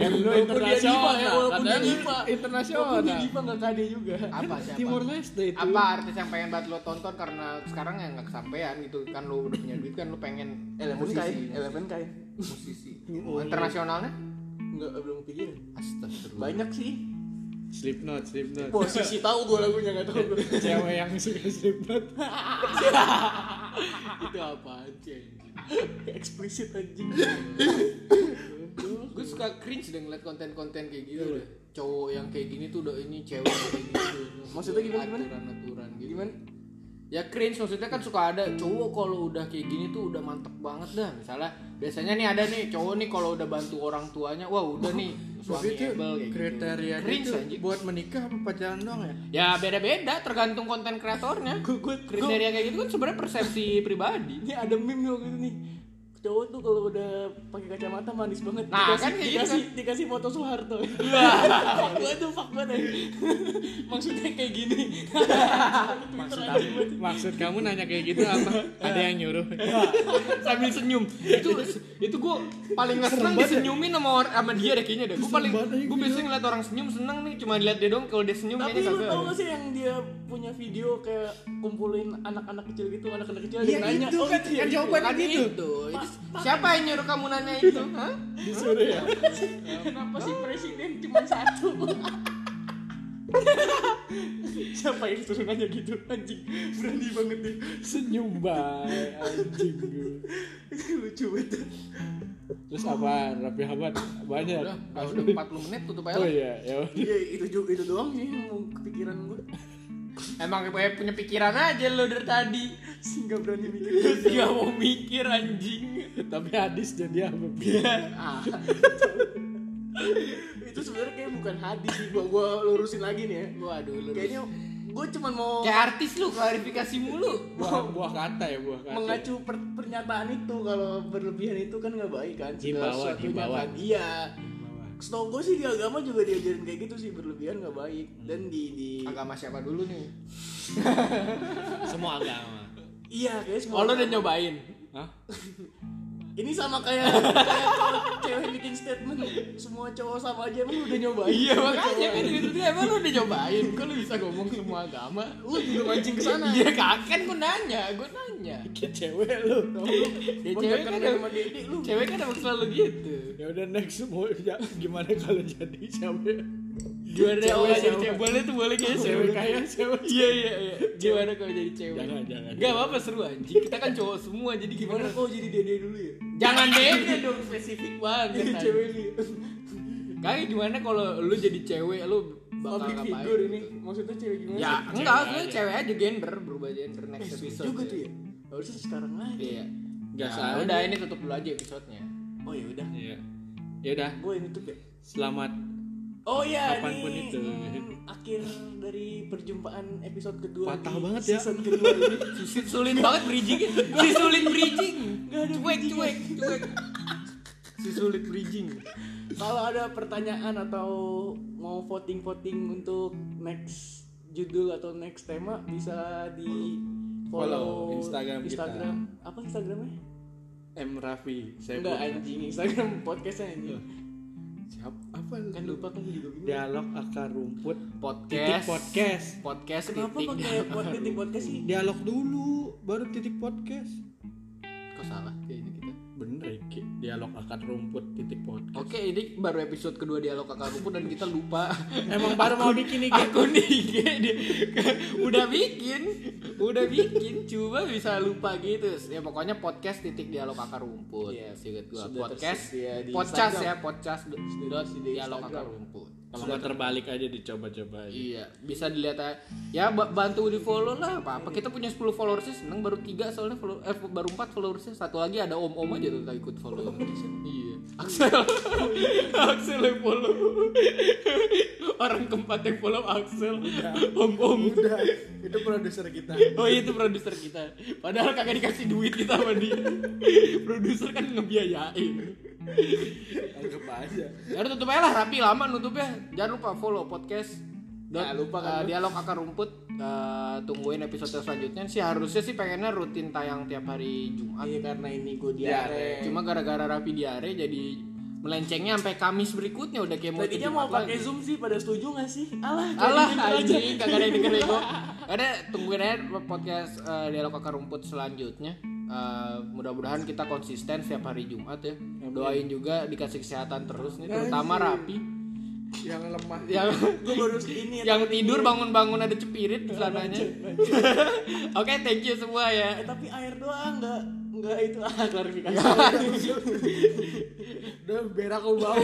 [SPEAKER 3] Kan lu
[SPEAKER 1] walaupun dia diva ya
[SPEAKER 3] internasional,
[SPEAKER 1] walaupun dia
[SPEAKER 3] kadang
[SPEAKER 1] diva
[SPEAKER 3] internasional.
[SPEAKER 1] walaupun dia diva nggak KD juga Kan
[SPEAKER 2] Apa siapa?
[SPEAKER 3] Timor Leste itu
[SPEAKER 2] apa artis yang pengen banget lo tonton karena sekarang ya nggak kesampaian gitu kan lo udah punya duit kan lo pengen
[SPEAKER 1] elemen kain
[SPEAKER 2] musisi
[SPEAKER 1] elemen Iya. kain
[SPEAKER 2] musisi Oh, internasionalnya
[SPEAKER 1] nggak belum kepikiran
[SPEAKER 2] astagfirullah
[SPEAKER 1] banyak sih
[SPEAKER 3] Slipknot Slipknot
[SPEAKER 1] posisi tahu gue lagunya nggak tahu gue
[SPEAKER 3] cewek yang suka Slipknot
[SPEAKER 2] itu apa aja
[SPEAKER 1] eksplisit anjing
[SPEAKER 2] gue suka cringe deh ngeliat konten-konten kayak gitu
[SPEAKER 1] Iya.
[SPEAKER 2] deh cowok yang kayak gini tuh udah ini cewek yang kayak gitu
[SPEAKER 1] Maksudnya gimana, gimana?
[SPEAKER 2] aturan aturan gitu
[SPEAKER 1] gimana
[SPEAKER 2] ya cringe maksudnya kan suka ada cowok kalau udah kayak gini tuh udah mantep banget dah misalnya biasanya nih ada nih cowok nih kalau udah bantu orang tuanya wah udah nih suami
[SPEAKER 3] itu
[SPEAKER 2] able kayak
[SPEAKER 3] kriteria
[SPEAKER 2] gitu cringe
[SPEAKER 3] itu
[SPEAKER 2] anjing.
[SPEAKER 3] buat menikah apa pacaran doang ya?
[SPEAKER 2] Ya beda-beda tergantung konten kreatornya.
[SPEAKER 1] gue gue
[SPEAKER 2] Kriteria kayak gitu kan sebenarnya persepsi pribadi.
[SPEAKER 1] ini ada meme nih waktu itu nih cowok tuh kalau udah pakai kacamata manis banget
[SPEAKER 2] Nah,
[SPEAKER 1] dikasih,
[SPEAKER 2] kan kayak gitu
[SPEAKER 1] dikasih, dikasih foto Soeharto fuck gue tuh fuck gue maksudnya kayak gini maksud
[SPEAKER 3] Maksud kamu nanya kayak gitu apa? Ada yang nyuruh?
[SPEAKER 2] Sambil senyum. Itu itu gue paling nggak seneng
[SPEAKER 1] ya.
[SPEAKER 2] disenyumin sama or- sama dia deh kayaknya deh. Gue paling gue biasanya ngeliat orang senyum seneng nih cuma lihat dia dong kalau dia senyum
[SPEAKER 1] tapi
[SPEAKER 2] kayaknya
[SPEAKER 1] lu
[SPEAKER 2] kagak.
[SPEAKER 1] tau gak sih yang dia punya video kayak kumpulin anak-anak kecil gitu anak-anak kecil
[SPEAKER 2] Iya,
[SPEAKER 1] dia nanya oh
[SPEAKER 2] kan
[SPEAKER 1] itu ya, itu
[SPEAKER 2] Bukan itu. Itu Siapa yang nyuruh kamu nanya itu? Hah?
[SPEAKER 1] ya." kenapa sih presiden cuma satu siapa yang suruh nanya gitu anjing berani banget dia
[SPEAKER 3] Senyum bay anjing gue.
[SPEAKER 1] lucu banget
[SPEAKER 3] Terus apa? Rapi Ahmad banyak.
[SPEAKER 2] Udah, udah 40 menit tutup aja.
[SPEAKER 3] Ya, Oh
[SPEAKER 2] lah.
[SPEAKER 3] iya, ya.
[SPEAKER 1] Iya itu juga itu doang sih yang mau kepikiran gue
[SPEAKER 2] Emang kayak punya pikiran aja lo dari tadi.
[SPEAKER 1] sih nggak berani mikir
[SPEAKER 3] Iya.
[SPEAKER 2] Gak mau mikir anjing.
[SPEAKER 3] Tapi hadis jadi apa? Iya.
[SPEAKER 1] ah. itu sebenarnya kayak bukan hadis sih gua gua lurusin lagi nih ya
[SPEAKER 2] Waduh, lu.
[SPEAKER 1] kayaknya gue cuman mau
[SPEAKER 2] Kayak artis lu klarifikasi mulu.
[SPEAKER 3] Buah, buah kata ya buah kata.
[SPEAKER 1] mengacu per- pernyataan itu kalau berlebihan itu kan nggak baik kan segala
[SPEAKER 3] Himbauan,
[SPEAKER 1] sesuatunya
[SPEAKER 3] himbauan.
[SPEAKER 1] kan. iya setahu gue sih di agama juga diajarin kayak gitu sih berlebihan nggak baik
[SPEAKER 2] Hmm.
[SPEAKER 1] dan di di
[SPEAKER 2] agama siapa dulu nih?
[SPEAKER 3] Semua agama.
[SPEAKER 1] iya kayak
[SPEAKER 2] Oh,
[SPEAKER 1] semua
[SPEAKER 2] lu udah nyobain.
[SPEAKER 3] Hah?
[SPEAKER 1] ya Ini sama kayak, kayak kalau cewek bikin statement semua cowok sama aja emang lu udah nyobain.
[SPEAKER 2] Iya makanya kan gitu dia emang lu udah nyobain kok lu bisa ngomong semua agama
[SPEAKER 1] Lu juga mancing ke sana.
[SPEAKER 2] iya kaken gue nanya gue nanya
[SPEAKER 3] Ke cewek
[SPEAKER 2] ya
[SPEAKER 3] lu.
[SPEAKER 1] Bang,
[SPEAKER 2] cewek
[SPEAKER 1] jangan
[SPEAKER 2] kan
[SPEAKER 1] main
[SPEAKER 2] emang
[SPEAKER 1] sama Dedi lu.
[SPEAKER 2] cewek kan emang selalu gitu
[SPEAKER 3] Ya udah next mau ya, gimana kalau jadi cewek?
[SPEAKER 2] gimana
[SPEAKER 3] Cewek,
[SPEAKER 2] kalau jadi
[SPEAKER 3] cewek.
[SPEAKER 2] cewek boleh tuh boleh kayak cewek kaya cewek iya iya iya gimana kalau jadi cewek
[SPEAKER 3] Jangan, jangan.
[SPEAKER 2] gak apa-apa seru anjing kita kan cowok semua jadi
[SPEAKER 1] Gimana
[SPEAKER 2] gimana
[SPEAKER 1] kok jadi dede dulu ya?
[SPEAKER 2] jangan deh dong spesifik banget
[SPEAKER 1] Jadi
[SPEAKER 2] anjing.
[SPEAKER 1] cewek ini.
[SPEAKER 2] Kayak gimana kalau lu jadi cewek lu bakal
[SPEAKER 1] Public
[SPEAKER 2] ngapain? gitu?
[SPEAKER 1] figure ini. Maksudnya cewek gimana?
[SPEAKER 2] Ya,
[SPEAKER 1] sih?
[SPEAKER 2] enggak, lu cewek aja gender berubah gender next episode.
[SPEAKER 1] juga tuh ya. Harusnya sekarang aja.
[SPEAKER 2] Iya.
[SPEAKER 3] Nggak
[SPEAKER 2] Nah,
[SPEAKER 3] salah.
[SPEAKER 2] Udah ini tutup dulu aja episodenya.
[SPEAKER 1] Oh ya udah.
[SPEAKER 3] Iya. Ya udah,
[SPEAKER 1] Gue yang tutup ya.
[SPEAKER 3] selamat
[SPEAKER 1] Oh iya
[SPEAKER 3] Kapanpun
[SPEAKER 1] ini
[SPEAKER 3] itu.
[SPEAKER 1] hmm, akhir dari perjumpaan episode kedua
[SPEAKER 3] Patah
[SPEAKER 1] di
[SPEAKER 3] banget ya.
[SPEAKER 1] season kedua ini.
[SPEAKER 2] Sulit, sulit banget bridging. Si sulit bridging. Cuek, cuek, cuek. Si sulit bridging.
[SPEAKER 1] Kalau ada pertanyaan atau mau voting-voting untuk next judul atau next tema bisa di follow,
[SPEAKER 3] Follow Instagram kita.
[SPEAKER 1] Instagram. Apa Instagramnya?
[SPEAKER 3] M Raffi. Saya
[SPEAKER 1] Enggak
[SPEAKER 3] bukan-
[SPEAKER 1] anjing Instagram podcastnya
[SPEAKER 3] Iya.
[SPEAKER 1] anjing.
[SPEAKER 3] Siap apa lu?
[SPEAKER 1] Kan lupa kan juga bingung.
[SPEAKER 3] Dialog akar rumput titik
[SPEAKER 2] Podcast.
[SPEAKER 3] podcast.
[SPEAKER 2] Podcast
[SPEAKER 1] Kenapa
[SPEAKER 2] titik.
[SPEAKER 1] pakai pod titik podcast sih?
[SPEAKER 3] Dialog dulu baru titik podcast.
[SPEAKER 2] Kok salah kayaknya kita.
[SPEAKER 3] Bener Ki. Dialog akar rumput titik podcast.
[SPEAKER 2] Oke, ini baru episode kedua dialog kakak rumput dan kita lupa
[SPEAKER 3] Emang baru mau bikin IG.
[SPEAKER 2] akun IG dia udah bikin udah bikin cuma bisa lupa gitu ya pokoknya podcast titik dialog akar rumput
[SPEAKER 1] Iya,
[SPEAKER 2] Seingat gua.
[SPEAKER 1] sudah
[SPEAKER 2] podcast
[SPEAKER 1] tersedia di
[SPEAKER 2] podcast
[SPEAKER 1] Instagram.
[SPEAKER 2] ya podcast dot dialog akar
[SPEAKER 1] Instagram.
[SPEAKER 2] rumput
[SPEAKER 3] Kalau nggak terbalik aja dicoba-coba aja.
[SPEAKER 2] iya bisa dilihat aja. ya ba- bantu di follow lah apa apa kita punya 10 followers seneng baru 3 soalnya follow- eh, baru 4 followersnya satu lagi ada om om aja tuh tak ikut follow iya Axel Axel yang follow orang keempat yang follow Axel om om
[SPEAKER 3] Udah, itu produser kita.
[SPEAKER 2] Oh iya, itu produser kita. Padahal kagak dikasih duit kita sama dia. produser kan ngebiayain.
[SPEAKER 3] Anggap aja.
[SPEAKER 2] Jangan Ya tutup aja lah, rapi lama nutupnya. Jangan lupa follow podcast.
[SPEAKER 1] Ya, lupa kan
[SPEAKER 2] eh, dialog akar rumput Eh, tungguin episode selanjutnya sih harusnya sih pengennya rutin tayang tiap hari Jumat.
[SPEAKER 1] Iya karena ini gue diare.
[SPEAKER 2] Cuma gara-gara rapi diare jadi melencengnya sampai Kamis berikutnya udah kayak mau
[SPEAKER 1] Tadinya
[SPEAKER 2] ke
[SPEAKER 1] mau
[SPEAKER 2] Jumat
[SPEAKER 1] pakai
[SPEAKER 2] lagi.
[SPEAKER 1] Zoom sih pada setuju gak sih? Alah,
[SPEAKER 2] Alah
[SPEAKER 1] kayak gitu
[SPEAKER 2] anjing kagak ada yang denger ya ego. Ada tungguin aja podcast eh, dialog akar rumput selanjutnya. Eh, mudah-mudahan kita konsisten setiap hari Jumat ya. Doain juga dikasih kesehatan terus nih terutama Rapi
[SPEAKER 3] Yang lemah.
[SPEAKER 2] yang
[SPEAKER 1] Gue baru ini ya.
[SPEAKER 2] yang tidur bangun-bangun ada cepirit di celananya. Oke, thank you semua
[SPEAKER 1] Eh,
[SPEAKER 2] ya.
[SPEAKER 1] tapi air doang nggak nggak itu ah klarifikasi.
[SPEAKER 3] Udah berak aku bau.